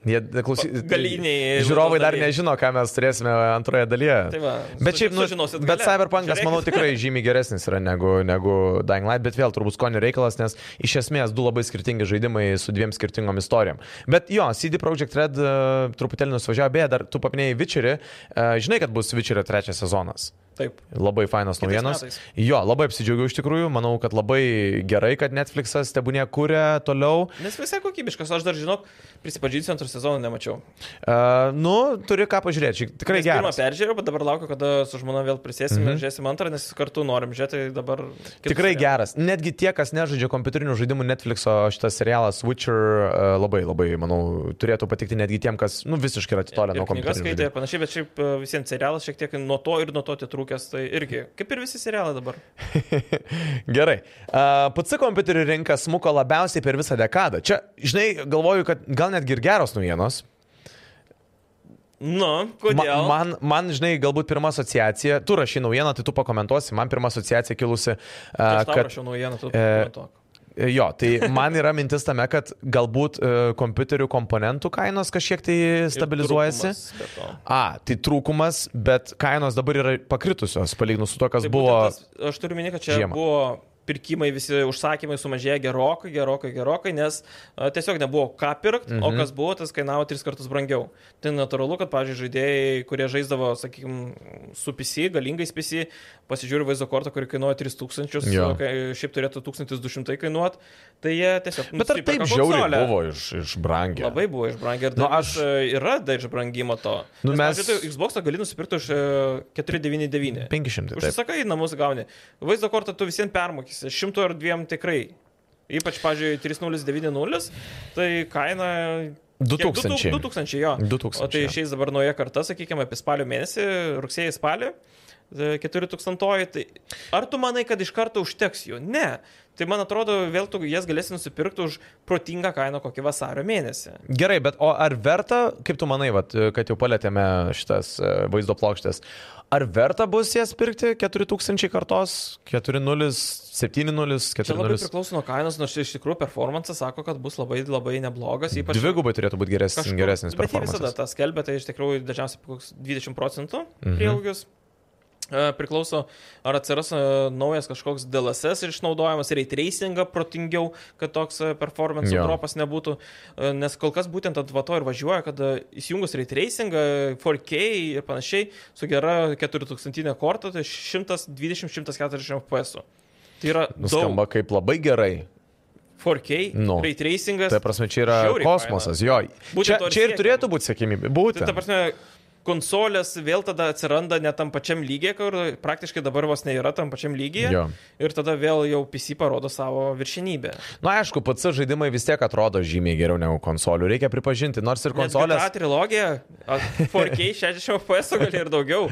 Jie, klausy...
galiniai
Žiūrovai dar
dalyje.
nežino, ką mes turėsime antroje dalyje.
Tai va,
Bet
suži-
šiaip, nu,
sužinosit
bet
gale.
Cyberpunkas, manau,
Žiūrėkit.
tikrai žymiai geresnis yra negu, negu Dying Light, bet vėl turbūt skonio reikalas, nes iš esmės du labai skirtingi žaidimai su dviem skirtingom istorijom. Bet jo, CD Projekt Red uh, truputėlį nusvažiavo, beje, dar tu paminėjai Vičerį, uh, žinai, kad bus Vičerio trečias sezonas.
Taip.
Labai fainos
Kitais
naujienos.
metais.
Jo, labai apsidžiaugiau iš tikrųjų, manau, kad labai gerai, kad Netflixas tebūnė kūrė toliau.
Nes visai kokybiškas, aš dar žinok, prisipažinsiu, antrą sezoną nemačiau.
Uh, nu, turi ką pažiūrėti, tikrai
Nes Pirmą
geras. Mhm.
peržiūrėjau, bet dabar laukiu, kada su žmona vėl prisėsim mm -hmm. ir žiūrėsim antrą, nes kartu norim žiūrėti tai dabar. kitus
Tikrai
serialus.
geras. Netgi tie, kas nežaidžia kompiuterinių žaidimų Netflixo, šitas serialas Witcher e, labai, labai, manau, turėtų patikti netgi tiem, kas, nu, visiškai yra atitolę
Ir
nuo
knygas
kompiuterinių
skaitė ir
žaidimų.
panašiai, bet šiaip e, visiems serialas šiek tiek nuo to ir nuo to atitrūkęs, tai irgi, kaip ir visi serialai dabar.
Gerai. Uh, PC kompiuterių rinka smuko labiausiai per visą dekadą. Čia, žinai, galvoju, kad gal netgi ir geros naujienos.
Nu,
Ma,
kodėl?
man, man, žinai, galbūt pirma asociacija, tu rašy naujieną, tai tu pakomentuosi, man pirma asociacija kilusi, uh,
Aš tau
kad
rašiau naujieną, tu
e,
pakomentuok.
Jo, tai man yra mintis tame, kad galbūt e, kompiuterių komponentų kainos kažkiek tai
Ir
stabilizuojasi.
trūkumas be to.
A, tai trūkumas, bet kainos dabar yra pakritusios, palyginus su to, kas
Tai
tai
buvo...
buvo.
Tas, aš turiu minėti, kad čia
žiemą.
žiemą. buvo pirkimai, visi užsakymai sumažėjo gerokai, gerokai, gerokai, nes a, tiesiog nebuvo ką pirkti, mm
Mhm.
-hmm. o kas buvo, tas kainavo tris kartus brangiau. Tai natūralu, kad, pavyzdžiui, žaidėjai, kurie žaisdavo, sakykime, su PC, galingais PC, pasižiūri vaizdo kortą, kuri kainuoja 3000,
Jo.
o kai- šiaip turėtų 1200 kainuoti, tai jie tiesiog...
Bet ar taip
nusiperka
žiauriai
konsolę.
buvo iš, iš brangiai?
Labai buvo išbrangę ir
Nu,
nu, aš...
aš-
yra dar išbrangimo to.
Nu,
Nes,
mes-
pavyzdžiui, tu Xbox gali nusipirkti už e, 499.
500. Taip.
Užsisakai į tai namus gauni. Vaizdo kortą tu visiems permokysi. 100 ar 2 tikrai. Ypač, pavyzdžiui, 3090, tai kaina...
2000.
Kiek? Du- du- 2000 jo.
2000.
O tai išeis dabar nauja karta, sakykime, apie spalio mėnesį, rugsėjai spalį, e, 4000. Tai ar tu manai, kad iš karto užteks jų? Ne. Tai man atrodo, vėl tu jas galėsi nusipirkti už protingą kainą kokį vasario mėnesį.
Gerai, bet o ar verta, kaip tu manai, vat, kad jau palėtėme šitas e, vaizdo plokštės, ar verta bus jas pirkti 4000 kartos, 40, 70,
Čia labai
40?
priklauso nuo kainos, nors iš tikrųjų performances sako, kad bus labai labai neblogas, ypač
Dvigubai turėtų būti geresnis,
Kažkur-
geresnis
bet jie visada
performances.
tą skelbia, tai iš tikrųjų dažniausiai koks 20 procentų
Mhm.
prieaugius. E, Priklauso, ar atsiras e, naujas kažkoks DLSS išnaudojamas, ray tracingą protingiau, kad toks e, performance
Jo.
dropas nebūtų. E, Nes kol kas būtent ant vato ir važiuoja, kad e, įsijungus ray tracingą, e, 4K ir panašiai, su gera 4000 kortą, tai 120-140 FPS. Tai yra daug.
Nuskamba kaip labai gerai.
4K,
Nu.
ray tracingas.
Tai prasme, čia yra
Žiauriai
kosmosas, jo.
Būtent
Čia,
to ir
čia ir
siekiama.
turėtų būti sėkmybė.
Tai
Būtent.
ta prasme, konsolės vėl tada atsiranda ne tam pačiam lygiai, kur praktiškai dabar vos nėra tam pačiam lygiai.
Jo.
Ir tada vėl jau PC parodo savo viršinybę.
Na, aišku, PC žaidimai vis tiek atrodo žymiai geriau negu konsolių, reikia pripažinti, nors ir
Ta
konsolės.
trilogija, a, 4K 60 FPS gali ir daugiau.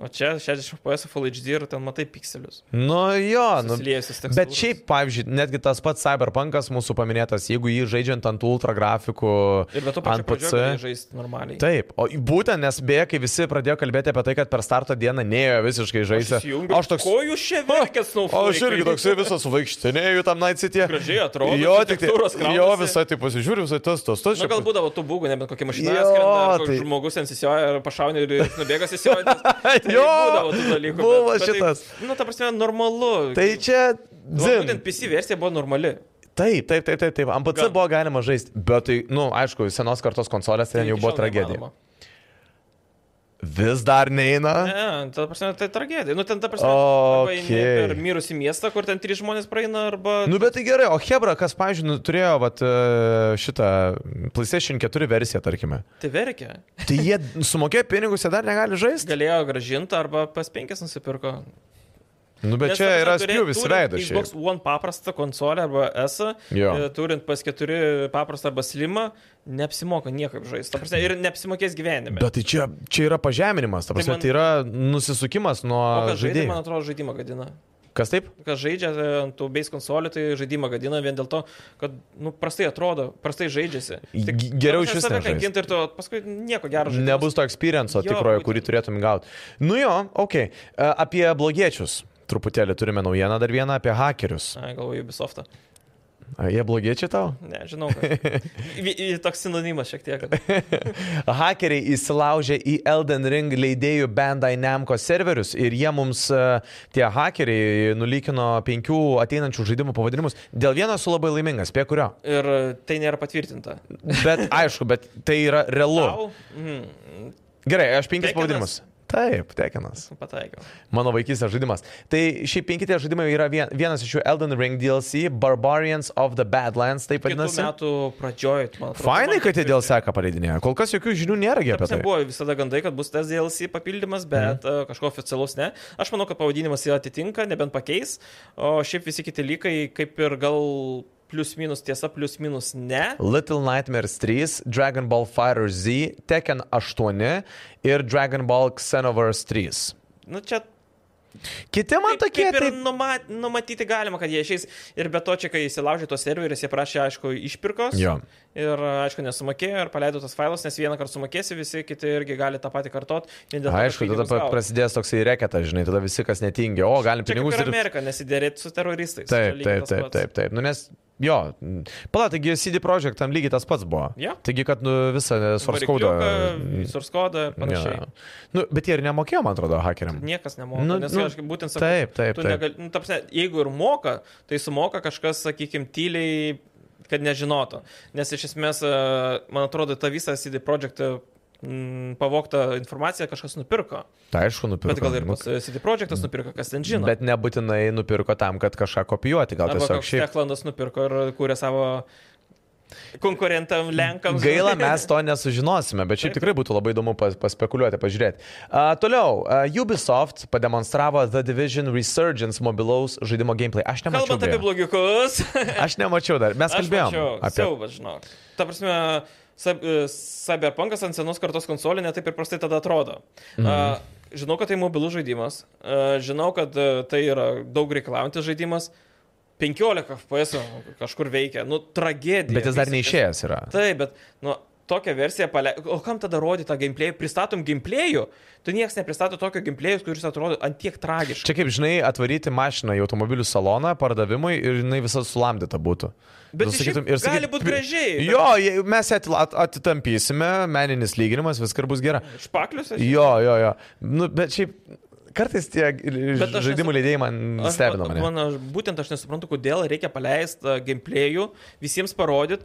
O čia 60 FPS Full HD ir ten matai pikselius.
Nu jo, nu,
Susiliejusius tekstūras.
bet šiaip, pavyzdžiui, netgi tas pats Cyberpunkas mūsų paminėtas, jeigu jį žaidžiant ant ultra grafikų
Ir be to pačiu
ant PC.
pradžioje žaisti normaliai.
Taip, o būtent nes beje, kai visi pradėjo kalbėti apie tai, kad per starto dieną neėjo visiškai žaisti.
Įsijungiu.
Aš toks...
Ko jūs čia verkės
O
naufragai?
aš irgi toksai visas suvaikštinėjau tam Night City.
Gražiai atrodo,
Jo, tik tai.
architektūros
Jo,
kraunasi. Nu,
visai tai pasižiūriu, visai tas, tas, tas.
Na,
čia-
gal būdavo tų būgų, nebent kokia mašina
Jo,
skrenda, ar koks
tai-
žmogus ten sisioja, ar pašauni ir nubėga sisioja. Tai
Jo,
būdavo tų dalykų. bet-
buvo
bet taip,
šitas.
Nu, ta prasme, normalu.
Tai čia...
Va,
dzin.
Būtent PC versija buvo normali.
Taip, taip, taip, taip, taip. Ant PC
Gal.
buvo galima žaisti, bet tai, na, nu, aišku, senos kartos konsolės ten jau
Tai iki
buvo
šiol
tragedija.
neįmanoma.
Vis dar neina.
Ne, ta prasme, tai tragedija. Nu, ten, ta prasme,
Ok.
arba eini per mirusį miestą, kur ten trys žmonės praeina, arba...
Nu, bet tai gerai, o Hebra, kas, pavyzdžiui, nu, turėjo vat, e, šitą PlayStation 4 versiją, tarkime.
Tai verkia.
Tai jie sumokėjo pinigus, jie dar negali žaisti.
Galėjo gražinti, arba PS5 nusipirko.
Nu, bet
Nes,
čia
ta prasme,
yra
turė-
spjūvis
turint
veidas. šiaip.
Xbox One paprastą konsolę arba S,
Jo.
e, turint PS4 paprastą arba slimą, neapsimoka niekaip žaisti. Prasme, ir neapsimokės gyvenime.
Bet tai čia, čia yra pažeminimas, ta prasme,
man-
tai yra nusisukimas nuo
o kas žaidžia, man
žaidėjų.
atrodo, žaidimą gadina.
Kas taip?
Kas žaidžia e, ant tų base konsolių, tai žaidimą gadina vien dėl to, kad nu, prastai atrodo, prastai žaidžiasi.
G-
Tik,
geriau
ta
iš
prasme,
vis
save
nežaist.
kankint Ir to paskui nieko gero žaisti.
Nebus to experienco
Jo,
tikrojo,
būtent.
kurį turėtum gauti. Nu jo, ok. Apie blogiečius. Truputėlį turime naujieną dar vieną apie hakerius.
Galvoju, Ubisoftą.
A, Jie blogiečiai tau?
Ne, žinau. kad- Vi- i- Toks sinonimas šiek tiek.
Hakeriai įsilaužė į Elden Ring leidėjų Bandai Namco serverius ir jie mums, e, tie hakeriai, nulykino penkių ateinančių žaidimų pavadinimus. Dėl vieno esu labai laimingas, prie kurio.
Ir e, tai nėra patvirtinta.
Bet aišku, bet tai yra realu.
Tau? Mm,
Gerai, aš penkis
Tekenas?
pavadinimus. Taip, tekinas.
pataikiau.
Mano vaikystės žaidimas. Tai šie penki tie žaidimai yra vien- vienas iš jų Elden Ring DLC, Barbarians of the Badlands, taip
Kitų
vadinasi.
metų pradžioj, man atrodo.
Fainai, kad jie dėl seka paleidinėje. Kol kas jokių žinių nėra gi apie
Taip,
tai. Mhm.
buvo visada gandai, kad bus tas DLC papildymas, bet mm. kažko oficialaus ne. Aš manau, kad pavadinimas jį atitinka, nebent pakeis. O šiaip visi kiti lygai, kaip ir gal plius minus tiesa, plius minus ne.
Little Nightmares 3, Dragon Ball Fighter Z, Tekken 8 ir Dragon Ball Xenoverse 3.
Nu, čia
Kiti man
kaip,
tokie,
kaip ir
tai
numa, numatyti galima, kad jie išeis. Ir be to, čia kai įsilaužė tos serverius, jie prašė, aišku, išpirkos.
Jo.
Ir, e, aišku, nesumokėjo ir paleido tas failus, nes vieną kartą sumokėsi, visi kiti irgi gali tą patį kartot.
Aišku, tada pa- prasidės toksai reketas, žinai, tada visi, kas netingi, o galim
Čia kaip
pinigus
ir
ir...
Amerika, nesidėrėti su teroristais. Čia
Taip,
lygiai
taip,
tas
taip,
pats.
taip, taip. Nu, nes, jo, pala, taigi CD Projekt tam lygiai tas pats buvo.
Jo.
Taigi, kad nu, visą sorskaudą...
Sorskodą ir panašiai.
Jo. Nu, bet jie ir nemokėjo, man atrodo, hakeriam.
Niekas nemoka.
Nu,
Nu, nes,
nu,
nu, aš kaip būtent sakau,
Taip, taip,
tu
taip.
negali, nu, ta prasme, jeigu ir moka, tai sumoka kažkas, sakykime, tyliai, kad nežinotų. Nes iš esmės, e, man atrodo, ta visa CD Projekt pavokta informacija kažkas nupirko.
Tai aišku, nupirko.
Bet gal ir
Nu,
pats e, CD Projektas nupirko, kas ten žino.
Bet nebūtinai nupirko tam, kad kažką kopijuoti, gal
Arba
tiesiog
koks
šiaip.
Techlandas nupirko ir kūrė savo konkurentam Lenkams.
Gaila, mes to nesužinosime, bet šiaip tikrai būtų labai įdomu pas, paspekuliuoti, pažiūrėti. Uh, toliau, uh, Ubisoft pademonstravo The Division Resurgence mobilaus žaidimo gameplay. Aš nemačiau.
Kalbant apie
beje.
blogiukus.
Aš nemačiau dar, mes kalbėjom apie...
Siaubas, žinok. Ta prasme, sab- e, Cyberpunkas ant senos kartos konsolė netaip ir prastai tada atrodo.
Mhm.
Mm. A, žinau, kad tai mobilus žaidimas. A, žinau, kad e, tai yra daug reikalaujantis žaidimas. 15 FPS kažkur veikia. Nu, tragedija.
Bet jis dar
Visiškai.
neišėjęs yra.
Taip, bet, nu, tokią versiją pale... O kam tada rodyti tą gameplayų? Pristatom gameplayų? Tu niekas nepristato tokio gameplayų, kuris atrodo ant tiek tragiškai.
Čia kaip žinai, atvaryti mašiną į automobilių saloną pardavimui ir jinai visa sulamdyta būtų. Nu,
Bet
Tu
jis šiaip gali būt gražiai, bet-
Jo, jei- mes ją atla- at- atitampysime, meninis lyginimas, viskas bus gera.
Špaklius aš.
Jo, jo, jo. Nu, bet šiaip kartais tie
Bet aš
žaidimų
esu-
leidėjai man
Aš-
stebina mane.
Man, aš, būtent aš nesuprantu, kodėl reikia paleisti gameplayų, visiems parodyti,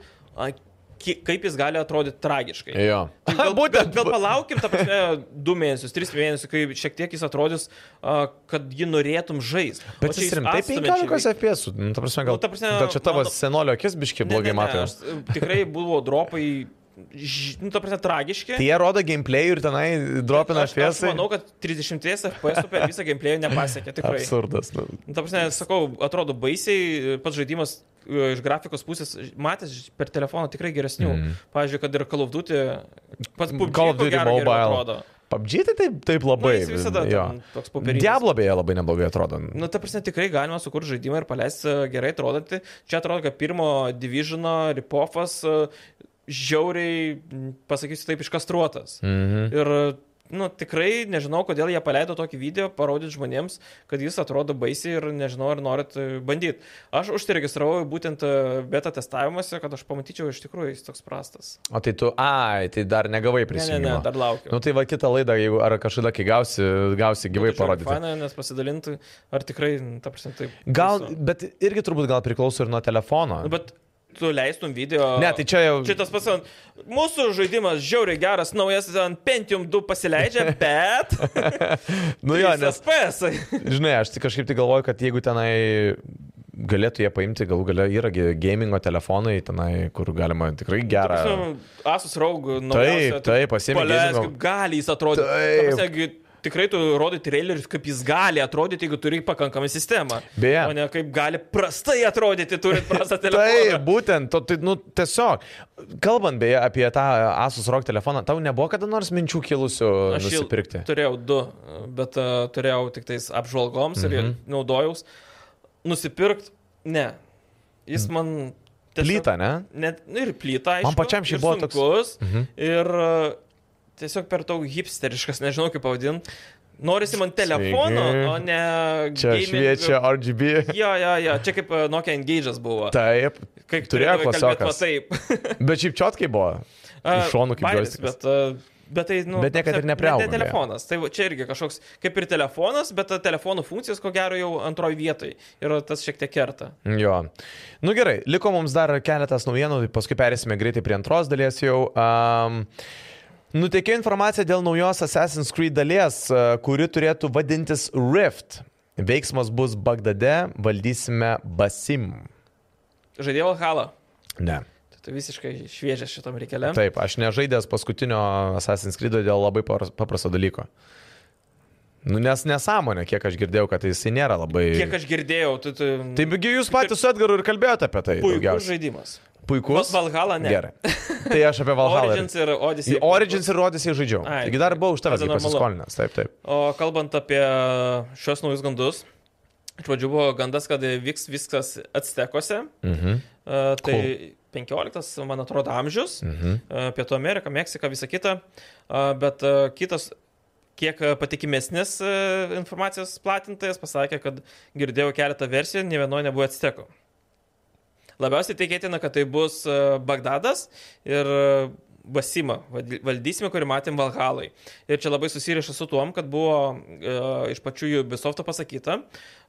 kaip jis gali atrodyti tragiškai.
Jo.
Tai Gal, gal, gal palaukim, ta prasme, du mėnesius, tris mėnesius, kai šiek tiek jis atrodys, a, kad jį norėtum žaisti.
Bet jis rimtai 15 FPS. -ų. Nu, ta prasme, gal,
Nu, ta prasme,
gal čia tavo
mano-
senolio akis biški blogai matai.
e, Tikrai buvo dropai, ž- nu, ta prasme, tragiški.
Tai jie rodo gameplay ir tenai dropina
aš, aš
FPS. -ai.
manau, kad 30 FPS per visą gameplayų nepasiekė, tikrai.
Absurdas. Nu.
Nu, Ta prasme, sakau, atrodo baisiai, pats žaidimas e, iš grafikos pusės matęs per telefoną tikrai geresnių. Mm. Pavyzdžiui, kad ir Call of Duty, pats PUBG
Call of
ko
Duty
gero geriau
Mobile.
atrodo.
PUBG tai taip, taip labai.
Nu, jis visada
jo.
ten toks popierinis. Nu-
Diablo beje labai neblogai atrodo.
Na, ta prasme, tikrai galima sukurti žaidimą ir paleisti e, gerai atrodantį. Čia atrodo, kad pirmo divisiono ripofas žiauriai, m, pasakysiu taip, iškastruotas.
Mhm.
Ir, nu, tikrai nežinau, kodėl jie paleido tokį video, parodyti žmonėms, kad jis atrodo baisiai ir nežinau, ar norit bandyti. Aš užsiregistravau būtent e, beta testavimuose, kad aš pamatyčiau, iš tikrųjų jis toks prastas.
O tai tu, ai, tai dar negavai
Ne, ne, ne,
prisijungimo.
dar laukiu.
Nu tai va kitą laidą, jeigu ar kažkada, kai gausi, gausi gyvai parodyti.
Faina, nes pasidalinti, ar tikrai, nu, ta prasme, taip.
Gal,
baisu.
bet irgi turbūt gal priklauso ir nuo telefono.
Nu, bet tu leistum video.
Ne, tai čia jau.
Čia tas pats, ant- mūsų žaidimas žiauriai geras, naujas ant Pentium 2 pasileidžia, bet...
nu jo, nes,
SPS.
žinai, aš tik kažkaip tai galvoju, kad jeigu tenai galėtų jie paimti, galų gale yra gi gamingo telefonai, tenai, kur galima tikrai gerą.
Asus Raugų
Taip, taip, pasiėmė
Palės,
gamingą-
kaip gali jis atrodyti.
Taip.
Ta prasme, gi Tikrai tu rodai trailerius, kaip jis gali atrodyti, jeigu turi pakankamą sistemą.
Beje.
O ne kaip gali prastai atrodyti, turint prastą
Taip,
telefoną.
būtent, to, tai, nu, tiesiog, kalbant beje apie tą Asus ROG telefoną, tau nebuvo kada nors minčių kilusių
Aš jį
nusipirkti?
turėjau du, bet uh, turėjau tik tais apžvalgoms mhm. ir jį naudojaus. Nusipirkt, ne. Jis
Mhm.
man...
Plyta, ne?
Net, nu, ir plyta, aišku.
Man pačiam šiaip
ir e,
buvo toks-
sunkus, mhm. Ir uh, tiesiog per daug hipsteriškas, nežinau kaip pavadinti. Norisi man telefono,
Sveiki.
o ne...
Čia
gaming-
šviečia RGB.
Jo, jo, jo, čia kaip e, Nokia Engage'as buvo.
Taip.
Kaip
turėjo
turėdavai kalbėt
klasiokas.
va Taip.
Bet šiaip čiotkai buvo. Iš šonų kaip
Bairis,
joystickas.
bet, e, bet tai, nu,
Bet niekad ir
ta prasme,
nepriaugom,
net Ne telefonas. Tai va čia irgi kažkoks kaip ir telefonas, bet ta telefonų funkcijas ko gero jau antroji vietoj. Ir tas šiek tiek kerta.
Jo. Nu gerai, liko mums dar keletas naujienų, tai paskui perėsime greitai prie antros dalies jau. Um, Nutekė informacija dėl naujos Assassin's Creed dalies, a, kuri turėtų vadintis Rift. Veiksmas bus Bagdade, valdysime Basim.
Žaidėjau Halą.
Ne.
Tai tu visiškai šviežias šitam reikeliam.
Taip, aš nežaidęs paskutinio Assassin's Creed dėl labai par- paprasto dalyko. Nu, nes nesąmonė, kiek aš girdėjau, kad jisai nėra labai...
Kiek aš girdėjau, tai, tu... tu
Taigi jūs patys su Edgaru ir kalbėjote apie tai.
Puikus
daugiausiai.
žaidimas.
Puikus.
Vos Valhalla, ne.
Gerai. Tai aš apie Valhalla.
Origins ir Odyssey.
Į Origins ir Odyssey žaidžiau.
Ai,
Taigi dar buvau už tavęs
tada
kaip
normalu.
pasiskolinęs. Taip, taip.
O kalbant apie šios naujus gandus, iš pradžių buvo gandas, kad vyks viskas Actekose.
Mhm.
E, Tai 15, man atrodo, amžius.
Mhm.
E, Pietų Amerika, Meksika, visa kita. E, Bet e, kitas, kiek e, patikimesnis e, informacijos platintojas pasakė, kad girdėjau keletą versijų, ne vienoje nebuvo atsiteko. Labiausiai tikėtina, kad tai bus e, Bagdadas ir e, Basima vadi- valdysime, kurį matėm Valhalai. Ir čia labai susiriša su tuom, kad buvo e, iš pačių Ubisofto pasakyta,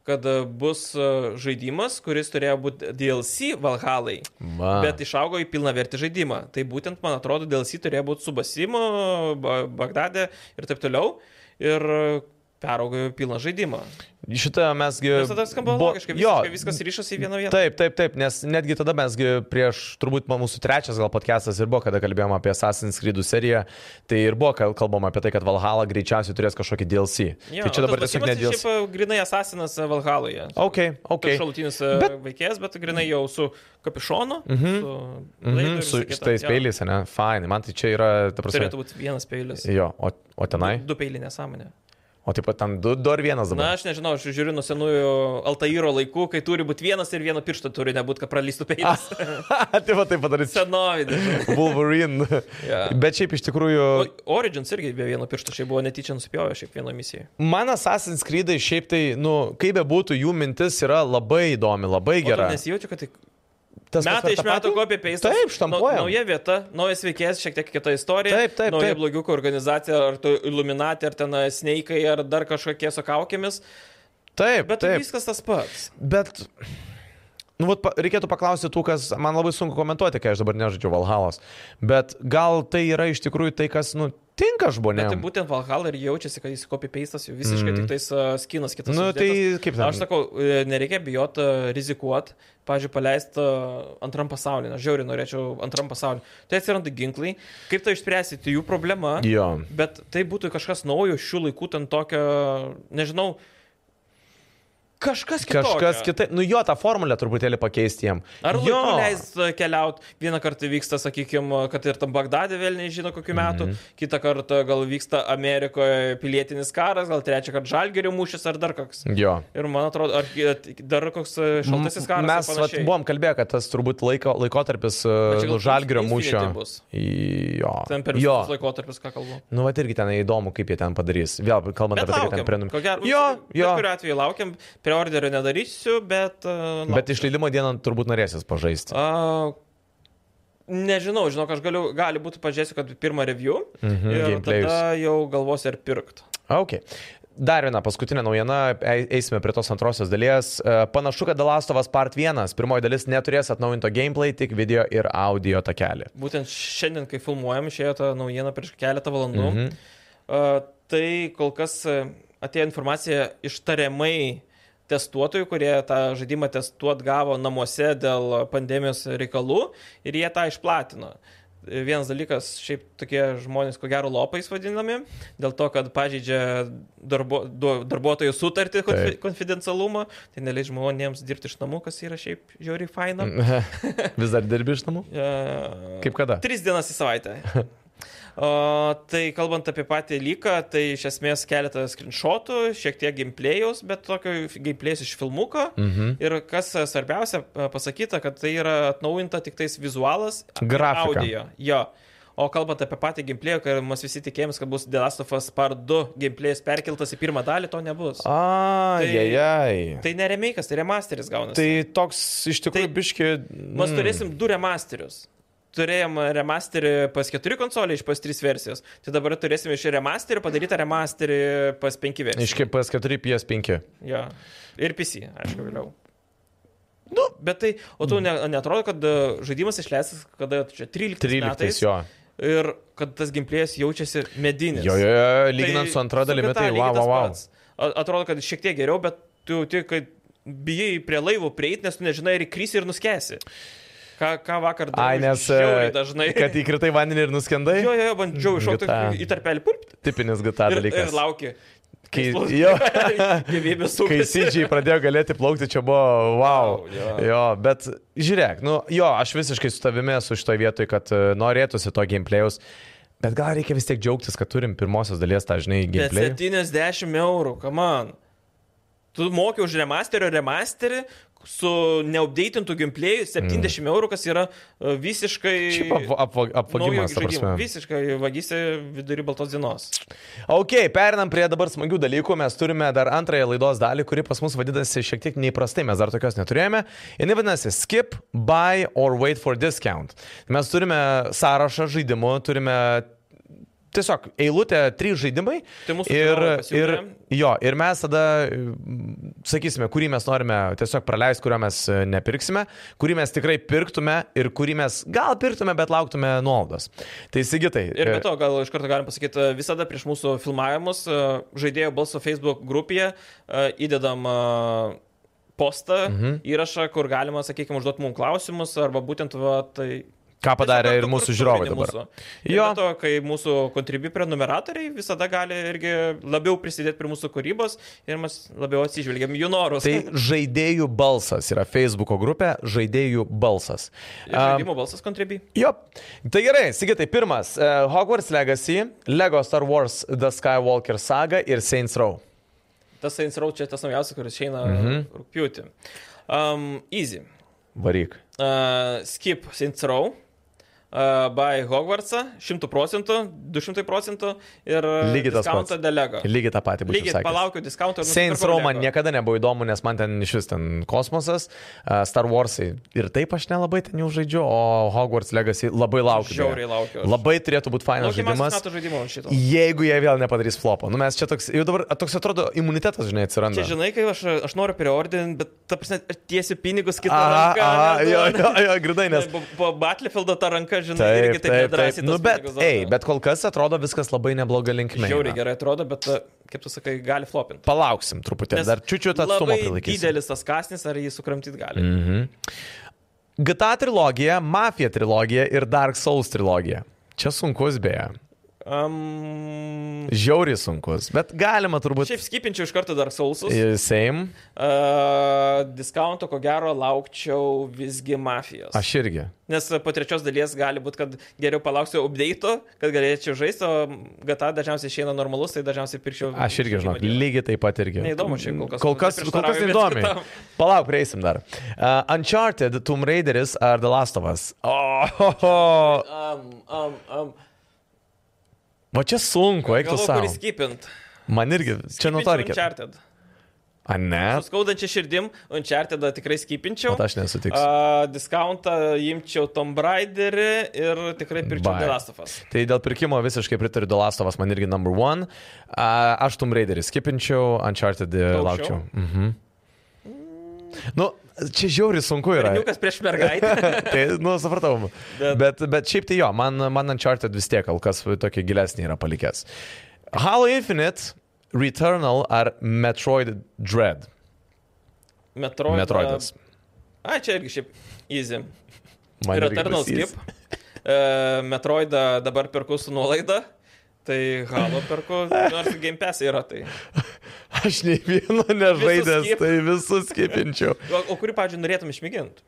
kad e, bus e, žaidimas, kuris turėjo būti DLC Valhalai.
Va.
Bet išaugo į pilną vertį žaidimą. Tai būtent, man atrodo, DLC turėjo būti su Basimu, ba Bagdade ir taip toliau. Ir peraugo į pilną žaidimą.
Šitą mesgi...
Ir tada skamba
buvo-
logiškai,
E, Jo,
visiškai viskas ryšasi į vieną vietą.
Taip, taip, taip, nes netgi tada mesgi prieš, turbūt ma- mūsų trečias gal podcastas ir buvo, kada kalbėjome apie Assassin's Creed seriją, tai ir buvo kal- kalbama apie tai, kad Valhalla greičiausiai turės kažkokį DLC.
Jo,
tai
o
čia dabar
tas
tiesiog
Basimas
ne DLC.
Šiaip e, grinai asasinas e, Valhaloje.
Ok, ok.
Okay. Šalutinis bet... veikėjas, bet grinai jau su kapišonu, mm -hmm. su, laidu
Mhm,
ir
su
visa kita.
šitais
Jo.
peiliais, ne? Fainai, man tai čia yra, ta prasme.
Turėtų būti vienas peilis.
Jo, o, o tenai?
Du peiliai nesąmonė.
O taip pat ten du, du ar vienas dabar.
Na, aš nežinau, aš žiūriu nuo senųjų Altairo laikų, kai turi būti vienas ir vieno piršto turi nebūti, kad pralystų peilis.
tai va taip padarys.
Senovinė.
Wolverine.
Jo.
Bet šiaip iš tikrųjų,
Nu, Origins irgi be vieno piršto šiaip buvo netyčia nusipjovę šiaip vieno misiją.
man Assassin's Creed šiaip tai, nu, kaip be būtų, jų mintis yra labai įdomi, labai gera.
Nesijaučiu, kad tai
Tas, kas per
metai iš
tą
metų
patį?
kopija peistas.
Taip, štampuojam.
Nauja vieta, naujas veikėjas, šiek tiek kita istorija.
Taip, taip,
Nauja
taip.
blogiuko organizacija, ar tu Illuminati, ar ten e, Sneikai, ar dar kažkokie su kaukėmis.
Taip,
Bet tai
taip.
viskas tas pats.
Bet, nu, vat, pa- reikėtų paklausti tų, kas man labai sunku komentuoti, kai aš dabar nežaidžiu Valhalos. Bet gal tai yra iš tikrųjų tai, kas, nu, tinka
Bet tai
žmonėms.
būtent Valhalla ir jaučiasi, kad jis kopija peistas, jau visiškai
Mhm.
mm. tik tais uh, skinas kitas.
Nu, tai
uždėtas.
kaip ten?
Na, Aš sakau, e, nereikia e, bijoti rizikuoti, pažiūrėjau, paleisti e, antram pasaulyje, aš žiauriai norėčiau antram pasaulyje. Tai atsiranda ginklai, kaip tai išspręsti, tai jų problema,
Jo.
bet tai būtų kažkas naujo šių laikų ten tokio, nežinau, kažkas kitokio.
Kažkas kitai, nu jo, tą formulę truputėlį pakeisti jiem.
Ar
jo.
leis keliauti, vieną kartą vyksta, sakykime, kad ir tam Bagdadė vėl nežino kokiu metu,
Mhm.
mm -hmm. kitą kartą gal vyksta Amerikoje pilietinis karas, gal trečią kartą žalgerio mūšis ar dar koks.
Jo.
Ir man atrodo, ar e, dar koks e, šaltasis karas.
Mes
ir
vat,
panašiai.
buvom kalbėję, kad tas turbūt laiko, laikotarpis
Bet čia gal
žalgrio
Infinity
mūšio.
bus.
Jo.
Ten per
jo.
visus laikotarpius, ką kalbu.
Nu, va irgi ten įdomu, kaip jie ten padarys. Vėl kalbant
Bet
apie tai, kad ten
laukiam.
prenum.
Ko gero,
Jo, jo.
Bet kuriuo atveju laukiam, preorderio nedarysiu, bet... Uh,
Bet išleidimo dieną turbūt norėsis pažaisti.
A, nežinau, žinok, aš galiu, gali būti pažiūrėsiu, kad pirmą review
Mhm,
ir
gameplayus.
tada jau galvosiu, ar pirkt.
Ok. Dar viena paskutinė naujiena, e- eisime prie tos antrosios dalies. E, Panašu, kad The Last of Us Part 1, pirmoji dalis neturės atnaujinto gameplay, tik video ir audio takelį.
Būtent šiandien, kai filmuojam, išėjo ta naujiena prieš keletą valandų. Mm
Mhm.
-hmm. a, tai kol kas a, atėjo informacija iš tariamai testuotojų, kurie tą žaidimą testuot gavo namuose dėl pandemijos reikalų ir jie tą išplatino. Vienas dalykas, šiaip tokie žmonės, ko gero, lopais vadinami, dėl to, kad pažeidžia darbo, du- darbuotojų sutartį konfi,
Taip.
konfidencialumą, tai neleidžia žmonėms dirbti iš namų, kas yra šiaip žiauriai faina. Mm.
Vis dar dirbi iš namų? Mm. Kaip kada?
Tris dienas į savaitę. O, tai kalbant apie patį lyką, tai iš esmės keletą screenshotų, šiek tiek gameplay'us, bet tokio gameplay'us iš filmuko.
Mhm.
Ir kas e, svarbiausia, e, pasakyta, kad tai yra atnaujinta tik tais vizualas, ir
Grafika.
audio. Jo. O kalbant apie patį gameplay, kad mes visi tikėjomės, kad bus The Last of Us Part 2 gameplay'is perkeltas į pirmą dalį, to nebus.
Ai,
Tai-
jai, jai.
Tai ne remake'as, tai remasteris gaunasi.
Tai toks iš tikrųjų
Tai-
biški.
Mes
mm.
turėsim du remasterius. Turėjom remasterį pas 4 konsolį iš pas 3 versijos. Tai dabar turėsim iš remasterio padarytą remasterį pas 5 versiją.
Iš kaip PS4, PS5.
Jo. Ir PC, aišku, vėliau. Nu, bet tai, o
Mm.
tau ne, netrodo, kad e, žaidimas išleistas, kada čia 13,
13
metais,
jo.
ir kad tas gimplėjas jaučiasi medinis.
Jo, jo, jo, lyginant
Tai
su antra dalimi,
GTA
tai
lygiai
wow,
tas
wow, wow.
pats. A- Atrodo, kad šiek tiek geriau, bet tu jauti, kad bijai prie laivų prieiti, nes tu nežinai, ar įkrisi ir nuskesi. Ką, ką vakar dariau,
Ai, nes.
žiauriai
e,
dažnai.
Kad įkritai vandenį ir nuskendai.
Jo, jo, jo, bandžiau iššokti
GTA.
į tarpelį pulpti
Tipinis GTA
ir,
dalykas.
ir lauki.
Kai,
Kaislus.
jo, kai
Gyvybės sūkis.
Sidžiai pradėjo galėti plaukti, čia buvo wow.
Wow, jo.
Jo, bet žiūrėk, nu jo, aš visiškai su tavimi esu šitoje vietoje, kad e, norėtųsi to gameplayaus, bet gal reikia vis tiek džiaugtis, kad turim pirmosios dalies tą, žinai,
Bet
gameplayą.
70 eurų, come on. Tu moki už remasterio remasterį su neupdatintų gimplėjų 70 mm. eurų, kas yra e, visiškai...
Šiaip apva- apva-
naujo
apvagimas, ta
žaidimo.
prasme.
Visiškai vagystė vidury baltos dienos.
Ok, perinam prie dabar smagių dalykų. Mes turime dar antrąją laidos dalį, kuri pas mus vadinasi šiek tiek neįprastai, mes dar tokios neturėjome. Jis vadinasi Skip, Buy or Wait for Discount. Mes turime sąrašą žaidimų, turime tiesiog eilutę, trys žaidimai.
Tai mūsų
ir,
žiūrovai
ir,
pasiūlė.
jo, ir mes tada mm, sakysime, kurį mes norime tiesiog praleisti, kurio mes e, nepirksime, kurį mes tikrai pirktume ir kurį mes gal pirktume, bet lauktume nuolaidos. Tai sigitai.
Ir
e,
be to, gal iš karto galim pasakyti, visada prieš mūsų filmavimus e, žaidėjo balso Facebook grupėje e, įdedam e, postą, mhm. įrašą, kur galima, sakykime, užduoti mums klausimus arba būtent va, tai...
Ką padarė ir
Tiesiog kartu kur
mūsų žiūrovai
suvaidina
dabar.
Mūsų.
Jo.
Jo. Ir be to, kai mūsų kontribi prenumeratoriai visada gali irgi labiau prisidėti prie mūsų kūrybos ir mes labiau atsižvelgiam į jų norus.
Tai žaidėjų balsas yra Facebook'o grupė žaidėjų balsas.
Ir žaidimo balsas kontribi.
Jo. Tai gerai, sigitai, pirmas uh, Hogwarts Legacy, Lego Star Wars The Skywalker saga ir Saints Row.
Tas Saints Row čia tas naujausias, kuris išeina mhm. rūpjūti. Um, easy.
Varyk.
Uh, skip Saints Row. Uh, by Hogwartsą 100 procentų, 200 procentų ir
Lygiai tas pats.
discountą delego.
Lygiai tą patį būčiau
Lygiai,
sakęs.
palaukiu discountą.
Saints Row man niekada nebuvo įdomu, nes man ten iš vis ten kosmosas, uh, Star Warsai ir taip aš nelabai ten jau žaidžiu, o Hogwarts Legacy labai laukiu. beje.
Žiauriai laukiu aš.
Labai turėtų būti fainas
žaidimas.
žaidimas.
Metų žaidimo šito.
Jeigu jie vėl nepadarys flopo. Nu mes čia toks, jau dabar toks atrodo imunitetas, žinai, atsiranda.
Čia žinai, kai aš, aš noriu priordinti, bet ta prasme, aš tiesiu pinigus kitą
A,
ranką.
a,
nes-
jo, jo, jo, grinai, nes.
Po- Po Battlefieldą tą ranką, žinai,
Taip,
irgi taip
taip, taip.
nedrąsiai.
Nu,
tuos
bet,
pinigus
ei,
duoda.
bet kol kas atrodo viskas labai nebloga linkme.
Žiauriai
eina.
gerai atrodo, bet, e, kaip tu sakai, gali flopinti.
Palauksim truputį,
Nes
dar čiučiu tą atstumą
labai
prilaikysim.
Didelis tas kasnis, ar jį sukramtyti gali. Mm.
Mhm. GTA trilogija, Mafia trilogija ir Dark Souls trilogija. Čia sunkus beje.
Um,
Žiauriai sunkus, bet galima turbūt.
šiaip skipinčiau iš karto dar sausus. Yeah.
i- Same.
Uh, discounto, ko gero, laukčiau visgi mafijos.
Aš irgi.
Nes po trečios dalies gali būti, kad geriau palauksiu update'o, kad galėčiau žaisti, o GTA dažniausiai išeina normalus, tai dažniausiai pirkčiau.
Aš irgi,
žaidimą
žinok,
dėl-
lygiai taip pat irgi.
Neįdomu šiaip kol kas.
Kol kas, kol kas
Neprieštarauju
neįdomi.
viens kitam.
Palauk, prieisim dar. Uh, Uncharted, Tomb Raideris ar The Last of Us? Oh, Oho.
Um, um, um.
Va čia sunku, eik tu
Galvoju,
savo.
kurį skipint.
Man irgi, čia nuo to
Skipinčiau
reikia.
Uncharted.
A ne?
Skaudančia širdim, Uncharted tikrai skipinčiau.
Vat aš nesutiksiu.
Uh, discountą imčiau Tomb Raiderį ir tikrai pirkčiau
Bye.
The Last of Us.
Tai dėl pirkimo visiškai pritariu The Last of Us, man irgi number one. Uh, aš Tomb Raiderį skipinčiau, Uncharted e,
Daug
laukčiau. Mhm. Nu, čia žiauriai sunku yra.
Berniukas prieš mergaitę.
tai, nu, supratau.
Bet-
Bet, bet šiaip tai jo, man, man Uncharted vis tiek kol kas tokį gilesnį yra palikęs. Halo Infinite, Returnal ar Metroid Dread?
Metroid. um,
Metroidas.
A, čia irgi šiaip easy.
Man
Ir
irgi
Eternal
bus jis.
Skip. E, Metroidą dabar perku su nuolaida. Tai Halo perku, nors Game Pass yra tai.
Aš nei vieno nežaidęs,
skip.
tai visus skipinčiau.
O, o kurį, pavyzdžiui, norėtum išmėginti?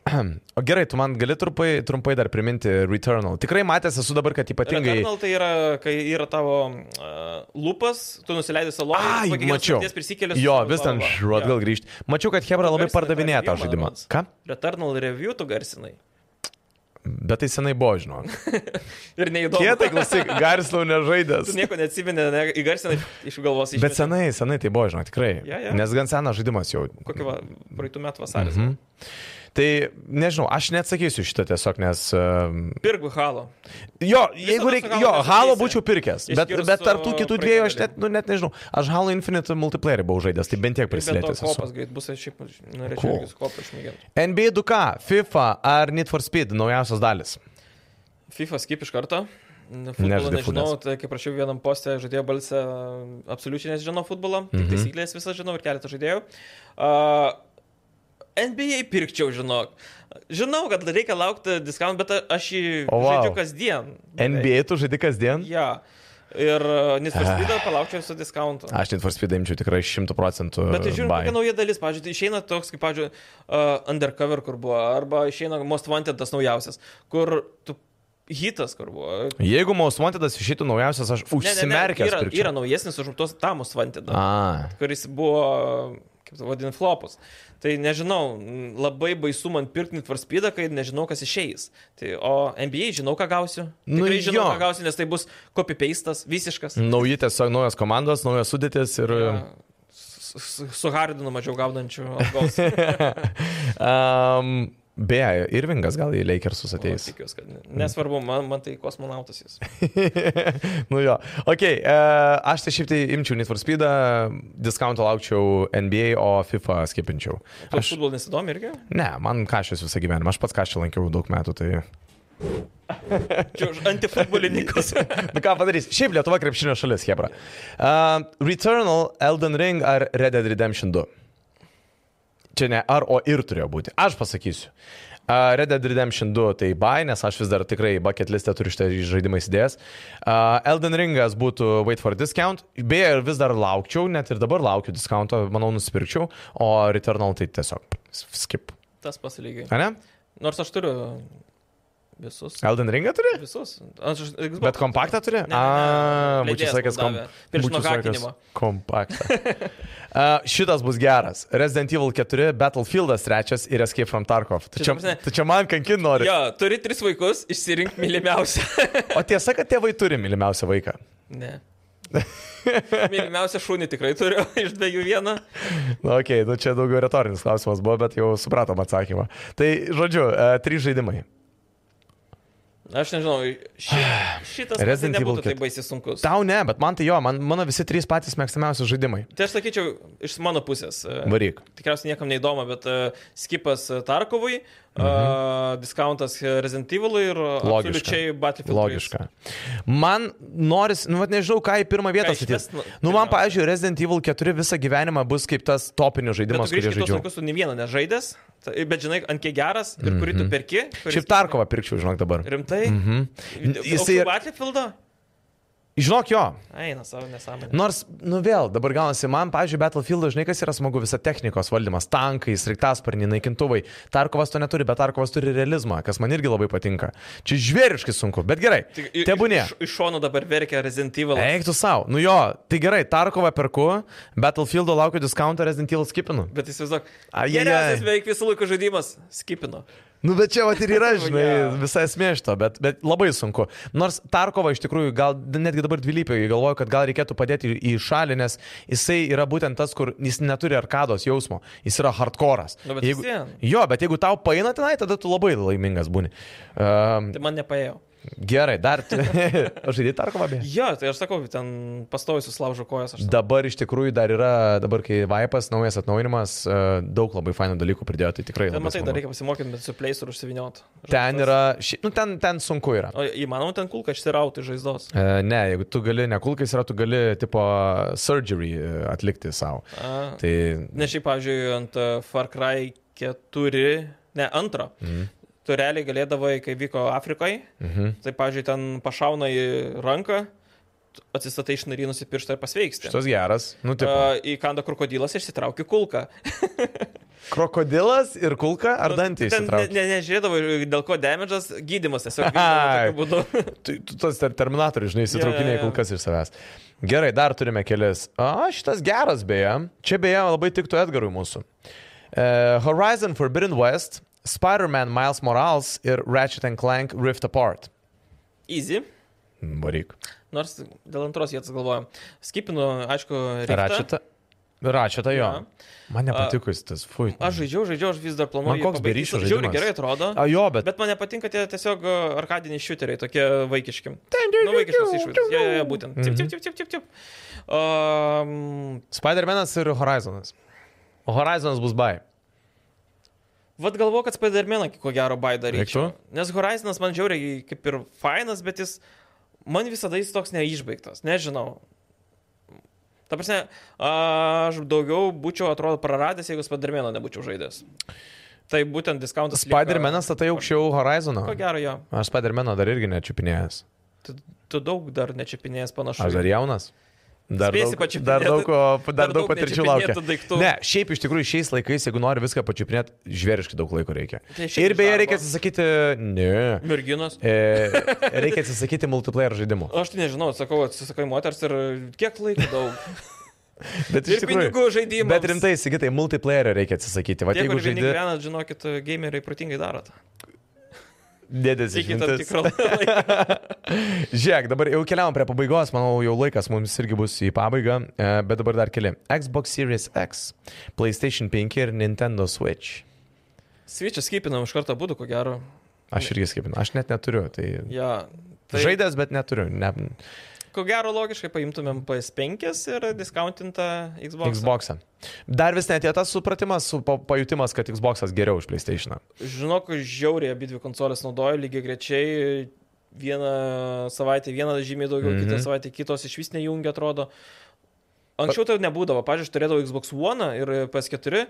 O gerai, tu man gali trumpai, trumpai dar priminti Returnal. Tikrai matęs esu dabar, kad ypatingai...
Eternal tai yra, kai yra tavo uh, lupas, tu nusileidai saloną,
Ai,
po kiekvienos
mačiau.
nakties prisikeli su
Jo,
savo
vis ten
galva.
šu, atgal grįžti. Mačiau, kad Hebra labai
Garsinai
pardavinėja tą
pardavinėjo, man
žaidimą.
rodos.
Ką?
Jo. Returnal review tu garsinai.
Bet tai senai buvo, žinau.
Ir neįdomu.
Kietai, klausyk, garslau
Tu
nežaidęs.
nieko neatsiminė, ne, įgarsinai iš galvos iš.
Bet senai, senai tai buvo, žinau, tikrai.
Jo, jo.
Nes gan senas žaidimas jau.
Kokį va, praeitų metų vasarį.
Mhm. Tai nežinau, aš neatsakysiu šitą tiesiog, nes... Uh,
Pirk Halo.
jo, jeigu
su
reikia... Jo,
Halo nesukeisi.
halo būčiau pirkęs, bet,
Išskyrus
bet tarp tų
su
kitų dviejų aš
praeitą
net, nu, net nežinau. Aš Halo Infinite multiplayerį buvau žaidęs, tai bent tiek prisilėtęs. esu.
kopas greit bus, aš šiaip
Cool.
norėčiau cool. irgi su kopu išmėginti.
NBA 2K, FIFA ar Need for Speed naujausios dalis.
FIFA skip iš karto. Futbolo
Nežaidai
nežinau,
futbolės.
tai kaip prašiau vienam postė, žaidėjo balsę, absoliučiai nežinau futbolo, mm -hmm.
Mhm.
taisyklės visą žinau ir keletą žaidėjų. Uh, NBA pirkčiau, žinok. Žinau, kad reikia laukti diskant, bet a- aš jį
O,
oh,
vau.
wow. žaidžiu kasdien.
NBA tu žaidi kasdien?
Ja. Ir uh, nesvarstydą palaukčiau su diskantu.
Aš Need for Speed imčiau tikrai 100 procentų.
Bet tai žiūrėjau,
buy.
kokia nauja dalis, pavyzdžiui, tai išeina toks, kaip, pavyzdžiui, uh, Undercover, kur buvo, arba išeina Most Wanted, tas naujausias, kur tu hitas, kur buvo.
Jeigu Most Wantedas išeitų naujausias, aš užsimerkęs. Ah.
yra,
pirkčiau.
yra naujesnis už tos Tamus Wanted,
A,
kuris buvo, kaip tai vadin, flopus. Tai nežinau, m, labai baisu man pirkti netvarspydą, kai nežinau, kas išeis. Tai, o NBA žinau, ką gausiu.
Nu
Tikrai žinau,
jo.
ką gausiu, nes tai bus copy-pastas, visiškas.
nauji tiesiog naujas komandos, naujas sudėtis ir...
Ja, su- su- Su Hardinu mažiau gaunančių atgaus.
um, Beje, Irvingas gal į Lakersus
O,
ateis.
Tikiuosi, kad ne. nesvarbu, man, man tai kosmonautas jis.
nu jo. Ok, uh, aš tai šiaip tai imčiau Need for Speedą, diskonto laukčiau NBA, o FIFA skipinčiau.
Tu aš... futbol nesidomi irgi?
Ne, man kažkas visą gyvenimą, aš pats kažką lankiau daug metų, tai...
Čia už antifutbolininkus.
Nu ką padarys, šiaip Lietuva krepšinio šalis, Hebra. Uh, Returnal, Elden Ring ar Red Dead Redemption 2? Čia ne ar, o ir turėjo būti. Aš pasakysiu. Uh, Red Dead Redemption 2 tai bai, nes aš vis dar tikrai bucket listę turiu šitą žaidimą įsidėjęs. Uh, Elden Ringas būtų Wait for Discount. Beje, ir vis dar laukčiau, net ir dabar laukiu discounto, manau, nusipirkčiau. O Returnal tai tiesiog skip.
Tas paslygiai.
Ar ne?
Nors aš turiu visus.
Elden Ringą turi?
Visus. Aš, aš, Xbox.
Bet kompaktą turi?
Nu, Ne, ne, ne.
A, būčiau
Leidėjas
sakęs
man
kom...
davė. Prieš
būčiau
nuhakinimą.
sakęs Kompaktą. A, šitas bus geras. Resident Evil 4, Battlefieldas 3 ir Escape from Tarkov. Tu
Čia,
čia,
ta prasme-
tu čia man kankin nori.
Jo, turi tris vaikus, išsirink mylimiausią.
O tiesa, kad tėvai turi mylimiausią vaiką.
ne. Mylimiausią šunį tikrai turiu, iš dviejų vieną.
Na, okei, okay, nu čia daugiau retorinis klausimas buvo, bet jau supratom atsakymą. Tai, žodžiu, e, trys žaidimai.
Aš nežinau, ši, šitas man tai
Resident Evil
nebūtų
ket-
taip baisiai sunkus.
Tau ne, bet man tai jo, man, mano visi trys patys mėgstamiausi žaidimai.
Tai aš sakyčiau, iš mano pusės. e,
Varyk.
tikriausiai niekam neįdomu, bet uh, skipas e, Tarkovui, mhm. uh, diskontas Resident Evilui ir e,
Logiška.
absoliučiai Battlefield.
Logiška. Man noris, nu, vat nežinau, ką į pirmą vietą
Ką
sudėti.
išmest, nu,
Nu, man,
pirmiausia.
pavyzdžiui, Resident Evil 4 visą gyvenimą bus kaip tas topinis
Bet
žaidimas,
tu
kurį
grįžti tos
žaidžiu.
laikus su ne vieną nežaidęs, ta- bet žinai, ant kiek geras ir kurį tu perki. kuris-
Mhm. Šiaip Tarkovą pirkčiau, žinok, dabar.
Rimtai?
Mhm. Jisai
Jisai...
ir-
Battlefieldą?
Žinok jo,
Eina savo nesąmonę.
nors, nu vėl, dabar gaunasi, man, pavyzdžiui, Battlefield žinai, kas yra smagu, visa technikos valdymas, tankai, sraigtasparniai, naikintuvai. Tarkovas to neturi, bet Tarkovas turi realizmą, kas man irgi labai patinka. Čia žvėriškai sunku, bet gerai.
Tik i-
Tebūnie.
Iš, iš šono dabar verkia Resident Evil.
Eiktų savo, nu jo, tai gerai, Tarkovą perku, Battlefieldo laukiu discountą, Resident Evil skipinu.
Bet jis vis dar.
Ajajaj.
Geriausias beveik visų laikų žaidimas. Skipino.
Nu, bet čia vat ir yra, žinai,
Jo.
visa esmė iš to, bet, bet labai sunku. Nors Tarkovą iš tikrųjų, gal netgi dabar dvilypiai galvoju, kad gal reikėtų padėti į šalį, nes jisai yra būtent tas, kur jis neturi arkados jausmo, jis yra hardcore'as.
Nu, bet
jeigu,
vis vien.
jo, bet jeigu tau paina tenai, tada tu labai laimingas būni. Um,
Tai man nepaėjo.
gerai, dar... Aš žaidėjai Tarkovą beje.
Jo, tai aš sakau, ten pastoviu suslaužo kojas. Aš
Dabar iš tikrųjų dar yra, dabar kai Vaipas, naujas atnaujinimas, e, daug labai fainų dalykų pridėjo, tai tikrai...
Ten
labai
matai, dar
smagu.
reikia pasimokyti, bet su pleis ir užsiviniot.
Ten yra, ši... nu, ten, ten sunku yra.
O įmanoma ten kulka išsirauti iš žaizdos.
E, Ne, jeigu tu gali, ne kulkais yra, tu gali tipo surgery e, atlikti savo.
A,
Tai
Nes šiaip, pavyzdžiui, ant e, Far Cry 4, ne antro,
Mhm.
tu realiai galėdavai, kai vyko Afrikoje,
mhm.
tai, pavyzdžiui, ten pašauna į ranką, tu atsistatai išnarinusi pirštą ir pasveiksti.
šitas geras. Nu, tipo,
A, Į kandą krokodilas išsitraukia kulką. Nu,
krokodilas ir kulka ar dantys.
Ten ne, ne, nežiūrėdavo, dėl ko damage'as, gydimas tiesiog. vykdavo tokiu būdu.
Tu, tu tas ter- terminatorius, žinai,
Jo,
įsitraukinėjai
jo, jo.
kulkas iš savęs. Gerai, dar turime kelias. O, šitas geras beje. Čia beje labai tiktų Edgarui mūsų. Uh, Horizon E, Forbidden West Spider-Man Miles Morales ir Ratchet and Clank Rift Apart.
Easy.
Varyk.
Nors dėl antros vietos galvoju. Skipinu, aišku, Ratchet.
Ratchetą. Ratchetą jo.
Jo.
Man nepatiko jis tas, fui.
Aš žaidžiau, žaidžiau, aš vis dar planuoju.
Man
jį
koks
pabaigt.
be ryšio
Jis Žiauriai
žaidimas.
gerai atrodo.
A, jo, bet, bet
Bet man nepatinka tie tiesiog uh, arkadiniai šiuteriai, tokie vaikiški. Nu, vaikiškas išvaizdas. Jie, jie, būtent.
Mhm.
Taip, taip, taip, taip, taip. taip. Um,
Spider-Man'as ir Horizonas. O Horizonas bus bai.
Vat galvoju, kad Spider-Maną ko gero bai daryčiau.
Reiktų?
Nes Horizonas man žiauriai kaip ir fainas, bet jis man visada jis toks neišbaigtas. Nežinau. Ta prasme, aš daugiau būčiau, atrodo, praradęs, jeigu Spider-Maną nebūčiau žaidęs. Tai būtent diskontas.
Spider-Man'as statai aukščiau Horizono.
Ko gero jo.
Aš Spider-Man'o dar irgi nečiupinėjęs.
Tu, tu daug dar nečiapinėjęs panašu.
Aš dar jaunas. Dar
Spėsi
daug,
pačiupinėti.
dar daug, ko- dar daug patirčių laukia.
nečiupinėtų daiktų.
Ne, šiaip iš tikrųjų šiais laikais, jeigu nori viską pačiupinėti, žvėriškai daug laiko reikia.
Tai šiaip
Ir
iš
beje,
darbo.
reikia atsisakyti... Ne.
Merginos.
E, reikia atsisakyti multiplayer žaidimų.
Aš tai nežinau, sakau, atsisakai moters ir kiek laiko daug.
Bet
ir
iš tikrųjų...
pinigų žaidimams.
Bet rimtai, sakytai, multiplayer reikia atsisakyti. Vat
Tie,
jeigu
kur vieni
žaidži...
gyvenat, žinokit, gameriai protingai darot.
Dėdės
Iki tam
išmintis.
tikro laiko.
Žiūrėk, dabar jau keliavam prie pabaigos, manau, jau laikas mums irgi bus į pabaigą, e, bet dabar dar keli. Xbox Series X, PlayStation 5 ir Nintendo Switch.
Switch'ą skipinam iš karto būtų, ko gero.
Aš irgi skipinu, aš net neturiu. Tai...
Ja,
Tai... Žaidęs, bet neturiu. Ne...
Ko gero logiškai paimtumėm PS5 ir diskontintą Xbox.
Xbox'ą. Dar vis netėjo tas supratimas, su pa- pajutimas, kad Xbox'as geriau už PlayStation'ą.
Žinok, žiauriai abi dvi konsolės naudoju lygiai grečiai. Vieną savaitę vieną žymiai daugiau, mm
Mhm.
-hmm. kitą savaitę kitos iš vis nejungia, atrodo. Anksčiau tai nebūdavo. Pavyzdžiui, aš turėdavau Xbox One ir PS4,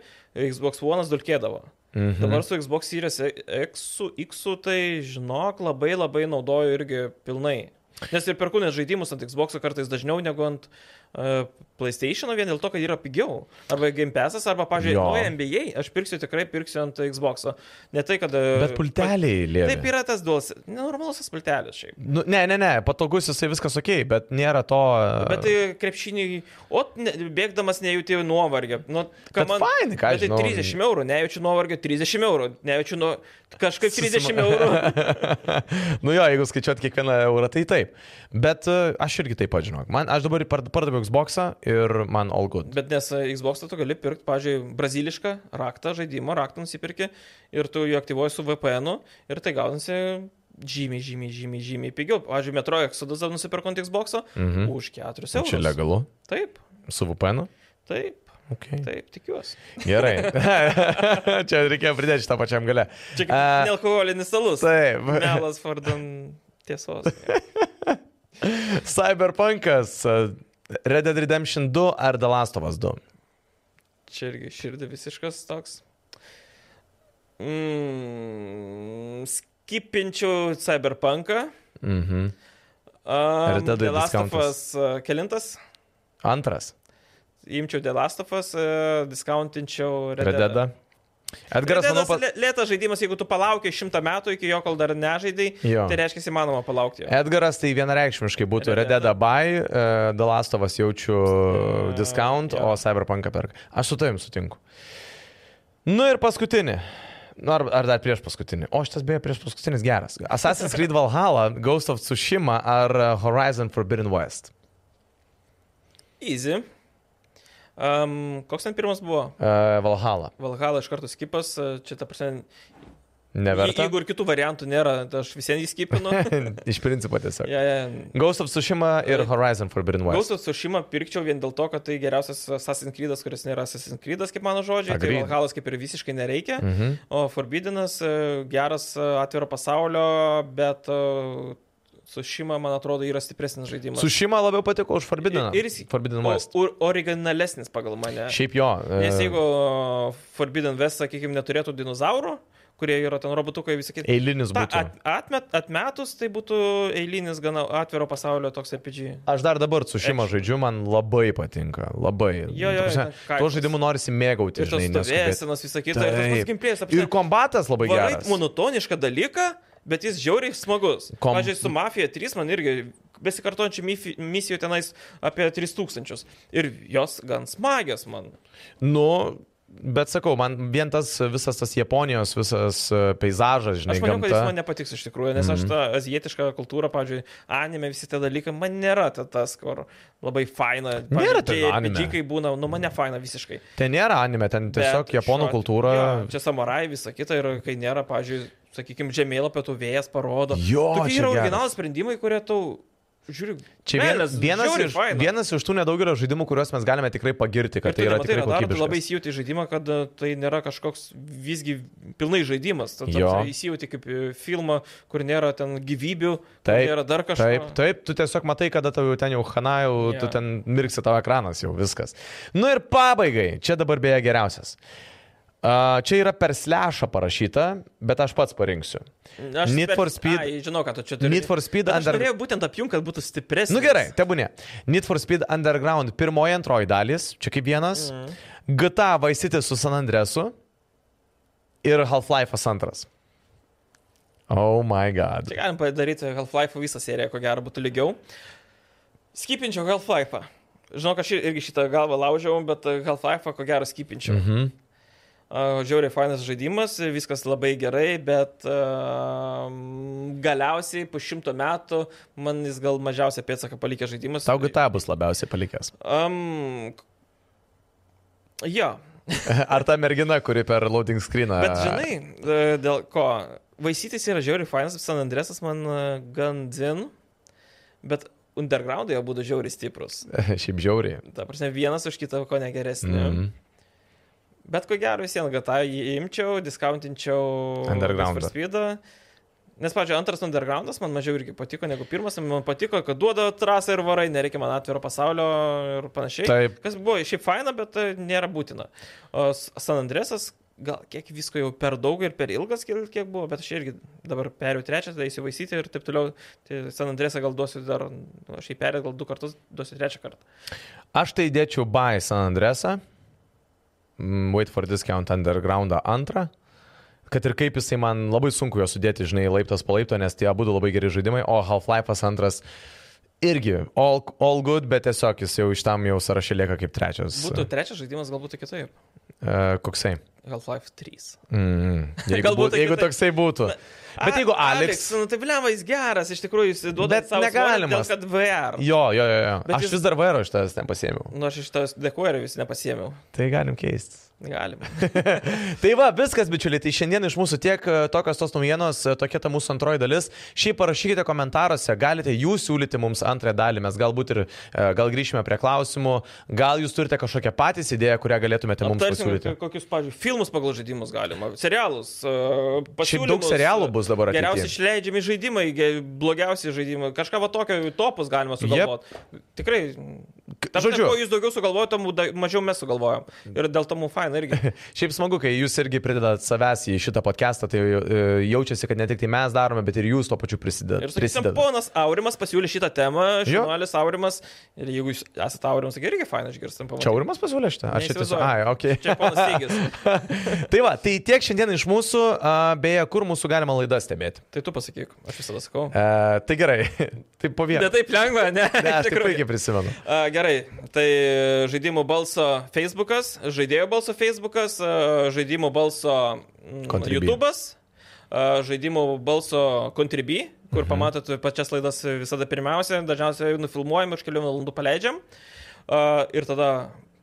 Xbox One dulkėdavo.
Mhm.
Dabar su Xbox Series E- X, su X, tai žinok, labai labai naudoju irgi pilnai. Nes ir perku net žaidimus ant Xbox kartais dažniau negu ant uh, PlayStation vien dėl to, kad yra pigiau. Arba Game Passas, arba,
Jo.
pažiūrėjau, naują NBA, aš pirksiu tikrai pirksiu ant Xbox. Ne tai, kad... e,
Bet pulteliai
pa-
lėmė.
Taip yra tas duos. Normalus tas pultelis šiaip.
Nu, ne, ne, ne, patogus jisai viskas ok, bet nėra to...
Bet tai krepšiniai, o ne, bėgdamas nejauti nuovargio. Nu, ką
Bet fainai, ką aš
bet tai
žinau.
30 eurų, nejaučiu nuovargio, 30 eurų, nejaučiu nuo... Kažkaip 30
Susima-
eurų.
nu jo, jeigu skaičiuot kiekvieną eurą, tai taip. Bet e, aš irgi taip pat žinok. Man, aš dabar par- pardaviau Xbox'ą ir man all good.
Bet nes e, Xbox tu gali pirkti, pažiūrėjau, brazilišką raktą, žaidimą, raktą nusipirki ir tu jį aktyvuoji su VPN ir tai gaunasi žymiai, žymiai, žymiai, žymiai pigiau. Pavyzdžiui, Metro Exodus nusipirkant Xbox
Mhm.
už 4 eurus.
Čia legalu.
Taip,
Su VPN? -u?
taip,
Okay.
taip, tikiuosi.
Gerai. Čia reikėjo pridėti šitą pačiam gale.
Čia kaip
A,
nealkoholinis salus.
Taip.
Melas vardan tiesos.
Cyberpunkas, e, Red Dead Redemption 2 ar The Last of Us 2?
Čia irgi širdį visiškas toks. Mm, skipinčiau cyberpunką.
Mhm.
Um,
Red Deadui
The Last of
tai discountas.
Us uh, kelintas.
Antras.
Imčiau The Last of Us, uh, discountinčiau Red
Red
Dead.
Dead. Edgaras, manau, pat...
Lėtas žaidimas, jeigu tu palaukiai šimtą metų iki jo, kol dar nežaidai,
Jo.
tai reiškia įmanoma palaukti. jo.
Edgaras tai vienareikšmiškai būtų
Red
Red Dead Abai, uh, The Last of Us jaučiu
Mm,
discount,
jo.
o Cyberpunk perk. Aš su tavim sutinku. Nu ir paskutinį. Nu, ar, ar dar prieš paskutinį. O šitas beje prieš paskutinis geras. Assassin's Creed Valhalla, Ghost of Tsushima ar e, Horizon Forbidden West. E-
Easy. Um, koks ten pirmas buvo?
Uh, Valhalla.
Valhalla iš karto skipas, uh, čia ta prasme. je-
Neverta.
Jeigu ir kitų variantų nėra, tai aš visiems jį skipinu.
Iš principo tiesiog.
ja, ja.
Ghost of Tsushima ir
Taip.
Horizon Forbidden West.
Gausas su Šima pirkčiau vien dėl to, kad tai geriausias Assassin's Creed'as, kuris nėra Assassin's Creed'as, kaip mano žodžiai. Tai
Agreed.
Valhalas kaip ir visiškai nereikia.
Mhm.
O Forbidinas geras e, atviro pasaulio, bet e, su Šima, man atrodo, yra stipresnis žaidimas.
Tsushima labiau patiko už Forbidden,
Ir- ir jis-
Forbidden
O,
West.
or- originalesnis pagal mane.
Šiaip jo. e,
Nes jeigu e, Forbidden West, sakykime, neturėtų dinozaurų, kurie yra ten robotukai visi kiti.
Eilinis
Ta,
būtų.
at, atmet, atmetus tai būtų eilinis gana atviro pasaulio toks RPG.
Aš dar dabar su šeima žaidžiu, man labai patinka. Labai.
Jo, jo,
Ta prasme,
ten kaimas.
Tuo žaidimu norisi mėgauti.
Ir tos
Žinai, neskubėti.
stovėsenos, visą kitą, ir tas
Taip.
pats gimplės
ir kombatas labai
Varai
geras.
monotonišką dalyką, bet jis žiauriai smagus.
Kom-
Kom... Pavyzdžiui, su Mafija 3 man irgi besikartojančių mifi- misijų tenais apie 3000. Ir jos gan smagios man.
Nu, Bet sakau, man vien tas visas tas Japonijos, visas e, peizažas, žinai,
Aš manau, kad jis man
gamta. Mhm.
nepatiks iš tikrųjų, nes aš tą azijietišką kultūrą, pavyzdžiui, anime, visi tie dalykai, man nėra ta- tas, kur labai faina.
Nėra ten anime.
Džikai būna, nu mane faina visiškai.
Ten nėra anime, ten tiesiog
Bet
japonų
šiuo-
kultūra.
Jo, čia samurai, visa kita ir kai nėra, pavyzdžiui, sakykime, žemėlapio tų vėjas parodo.
Jo,
Tokie
čia
yra
geras.
originalūs sprendimai, kurie tau... Žiūriu,
Čia vien, vienas, iš, vienas iš tų nedaugelio žaidimų, kuriuos mes galime tikrai pagirti, kad tai yra tikrai
Tu labai
kokybiškas.
įsijauti į žaidimą, kad e, tai nėra kažkoks visgi pilnai žaidimas. Tu
Jo.
įsijauti kaip į filmą, kur nėra ten gyvybių, kur
Taip,
nėra dar kažko.
Taip, taip, tu tiesiog matai, kada tau jau ten jau hana, jau yeah. tu
Jo.
ten mirksi tavo ekranas, jau viskas. Nu ir pabaigai, čia dabar beje geriausias. Uh, čia yra per slešą parašyta, bet aš pats parinksiu.
Aš
Need
per-
for Speed-
Ai, žinau, kad tu čia turi.
Need for Speed
Bet Aš
Under...
norėjau būtent apjungti, kad būtų stipresnis.
Nu gerai, tebūnė. Need for Speed Underground pirmoji, antroji dalis, čia kaip vienas. Mm.
Mhm.
GTA Vice City su San Andresu ir Half-Life'as antras. Oh my god.
Čia galim padaryti Half-Life visą seriją, ko gero būtų lygiau. Skipinčiau Half-Life'ą. Žinau, aš ir- irgi šitą galvą laužiau, bet e, Half-Life'ą ko gero skipinčiau.
Mhm.
Uh, žiauriai fainas žaidimas, viskas labai gerai, bet uh, galiausiai po šimto metų man jis gal mažiausia pėdsaka palikė žaidimas.
Tau GTA bus labiausiai palikęs.
Um, k- jo,
Ar ta mergina, kuri per loading screeną.
bet žinai, e, dėl ko. Vaisytis yra žiauriai fainas, San Andresas man e, gan din, bet undergroundai abu du žiauriai stiprus.
Šiaip žiauriai.
Ta prasme, vienas už kitą ko negeresnė.
Mm.
Bet ko gero vis vien GTA jį imčiau, discountinčiau
Undergroundą.
Need for Speedą. Nes, pažiūrėjau, antras Undergroundas man mažiau irgi patiko negu pirmas, man patiko, kad duoda trasą ir varai, nereikia man atviro pasaulio ir panašiai.
Taip.
Kas buvo šiaip faina, bet e, nėra būtina. O S- San Andresas, gal kiek visko jau per daug ir per ilgas, kiek kiek buvo, bet aš irgi dabar perėjau trečią, tada įsivaisyti ir taip toliau. Tai San Andresą gal duosiu dar, nu, aš jį perėjau gal du kartus, duosiu trečią kartą.
Aš tai dėčiau by San Andresą. Mm, Wait for discount undergroundą antrą. Kad ir kaip jisai man labai sunku jo sudėti, žinai, laiptas po laipto, nes tie abu labai geri žaidimai, o Half-Life'as antras irgi all, all good, bet tiesiog jis jau iš tam jau sąrašė lieka kaip trečias.
Būtų trečias žaidimas, gal būtų kitaip.
Uh, koksai.
Half-Life 3.
Mm, jeigu,
Galbūt
būt, jeigu
kitaip.
toksai būtų. Bet
A-
jeigu Alex.
nu tai blema, jis geras, iš tikrųjų jis duoda
Bet
savo
negalima.
negalimas. Dėl, kad VR.
Jo, jo, jo. jo.
Bet
Aš
jis-
vis dar vairo iš tavęs nepasėmiau.
Nu, aš iš tos dekoerio vis nepasėmiau.
Tai galim keistis.
Galima.
Tai va, viskas, bičiuliai. Tai šiandien iš mūsų tiek e, tokios tos naujienos, e, tokia ta mūsų antroji dalis. Šiaip parašykite komentaruose, galite jūs siūlyti mums antrąją dalį, mes galbūt ir e, gal grįšime prie klausimų, gal jūs turite kažkokią patys idėją, kurią galėtumėte Tai mums
Aptarsim,
pasiūlyti.
kokius, pavyzdžiui, filmus pagal žaidimus galima, serialus. e,
Šiaip
pasiūlymus,
daug serialų bus dabar ateityje.
Geriausiai išleidžiami žaidimai, ge- blogiausi žaidimai. Kažką va tokio topus galima sugalvoti. Yep. Tikrai. Tam,
žodžiu.
Žodžiu. Kuo jūs daugiau sugalvojate, mažiau mes sugalvojom. Ir dėl to mums faina irgi.
Šiaip smagu, kai jūs irgi pridedat savęs į šitą podcastą, tai e, jaučiasi, kad ne tik tai mes darome, bet ir jūs tuo pačiu prisidedate.
Ir sakysim, ponas Aurimas pasiūlė šitą temą,
Jo.
žurnalis Aurimas. Ir jeigu jūs esate Aurimas, tai irgi faina išgirstam
Čia Aurimas pasiūlė šitą? Aš šitą. Ai,
Neįsivaizduoju.
okei. Okay.
Čia ponas Teigis.
tai va, tai tiek šiandien iš mūsų, a, beje, kur mūsų galima laidas stebėti.
Tai tu pasakyk, aš visada sakau.
E, tai gerai, tai po
Ne
vieną.
taip lengva, ne?
Ne, aš
Iš
tai
tikrųjų.
puikiai prisimenu.
A, Gerai, tai žaidimų balso Facebookas, žaidėjo balso Facebookas, a, žaidimų balso mm,
Contribee.
YouTube'as, a, žaidimų balso Contribui, kur pamatot pačias laidas visada pirmiausia, dažniausiai nufilmuojam ir už kelių valandų paleidžiam. A, Ir tada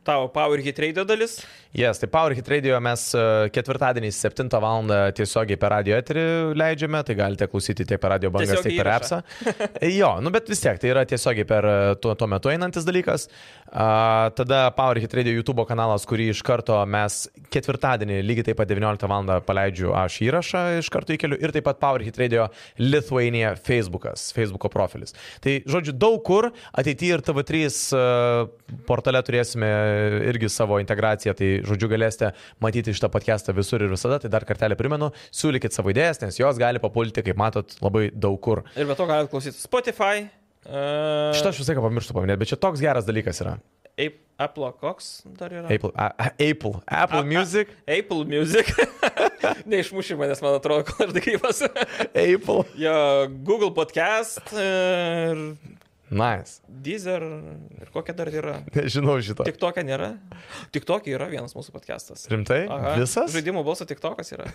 tavo Power Hit Radio dalis.
Jas, yes, tai Power Hit Radio mes e, ketvirtadienį 7 val. tiesiogiai per radio eterį leidžiame, tai galite klausyti tiek per radio bangas, tiek
Tiesiogiai
per appsą. Jo, nu bet vis tiek tai yra tiesiogiai per e, tuo, tuo metu einantis dalykas. A, tada Power Hit Radio YouTube kanalas, kurį iš karto mes ketvirtadienį lygiai taip pat 19 val. paleidžiu aš įrašą iš karto įkeliu ir taip pat Power Hit Radio Lithuania Facebookas, Facebooko profilis. Tai žodžiu, daug kur ateityje ir TV3 e, portale turėsime irgi savo integraciją, tai žodžiu galėsite matyti šitą podcastą visur ir visada, tai dar kartelį primenu, siūlykit savo idėjas, nes jos gali papulti, kaip matot, labai daug kur.
Ir be to galite klausyti Spotify. e, a,
Šitą aš visą laiką pamirštu paminėti, bet čia toks geras dalykas yra.
Ape- Apple koks dar yra?
Apple, a, a, Apple, Apple Music,
Apple Music. Neišmuši manęs, man atrodo, kol aš gyvas.
Apple.
jo, Google Podcast. e, Ir
Nice.
Deezer ir kokia dar yra.
Nežinau šito.
Tik tokia nėra. Tik tokia yra vienas mūsų podcastas.
Rimtai?
Aha,
Visas?
Žaidimų balso tik tokas yra.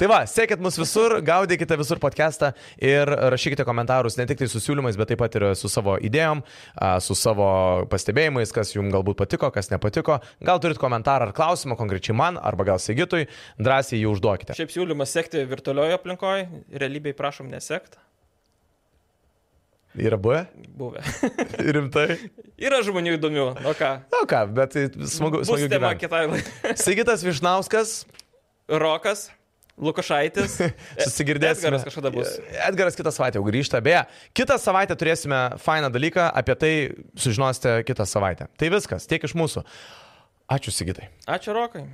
Tai va, sėkit mus visur, gaudykite visur podcastą ir rašykite komentarus ne tik tai su siūlymais, bet taip pat ir su savo idėjom, a, su savo pastebėjimais, kas jums galbūt patiko, kas nepatiko. Gal turit komentarą ar klausimą konkrečiai man, arba gal Sigitui, drąsiai jį užduokite.
Šiaip siūlymas sekti virtualioje aplinkoje, realybėje prašom nesekti.
Yra buvę?
Buvę.
Rimtai?
yra žmonių įdomių, nu ką.
Na ką, bet tai smagu,
Bus
smagu
tema
gyventi.
kitai laidai.
Sigitas Višnauskas,
Rokas, Lukašaitis.
susigirdėsime. E,
E, Edgaras kažkada bus.
Edgaras kitą savaitę jau grįžta. Beje, kitą savaitę turėsime fainą dalyką, apie tai sužinosite kitą savaitę. Tai viskas, tiek iš mūsų. Ačiū Sigitai.
Ačiū Rokai.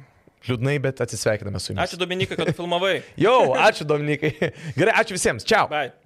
Liūdnai, bet atsisveikiname su jumis.
Ačiū Dominikai, kad filmavai.
Jau, ačiū Dominikai. Gerai, ačiū visiems. Čiau.
Bye.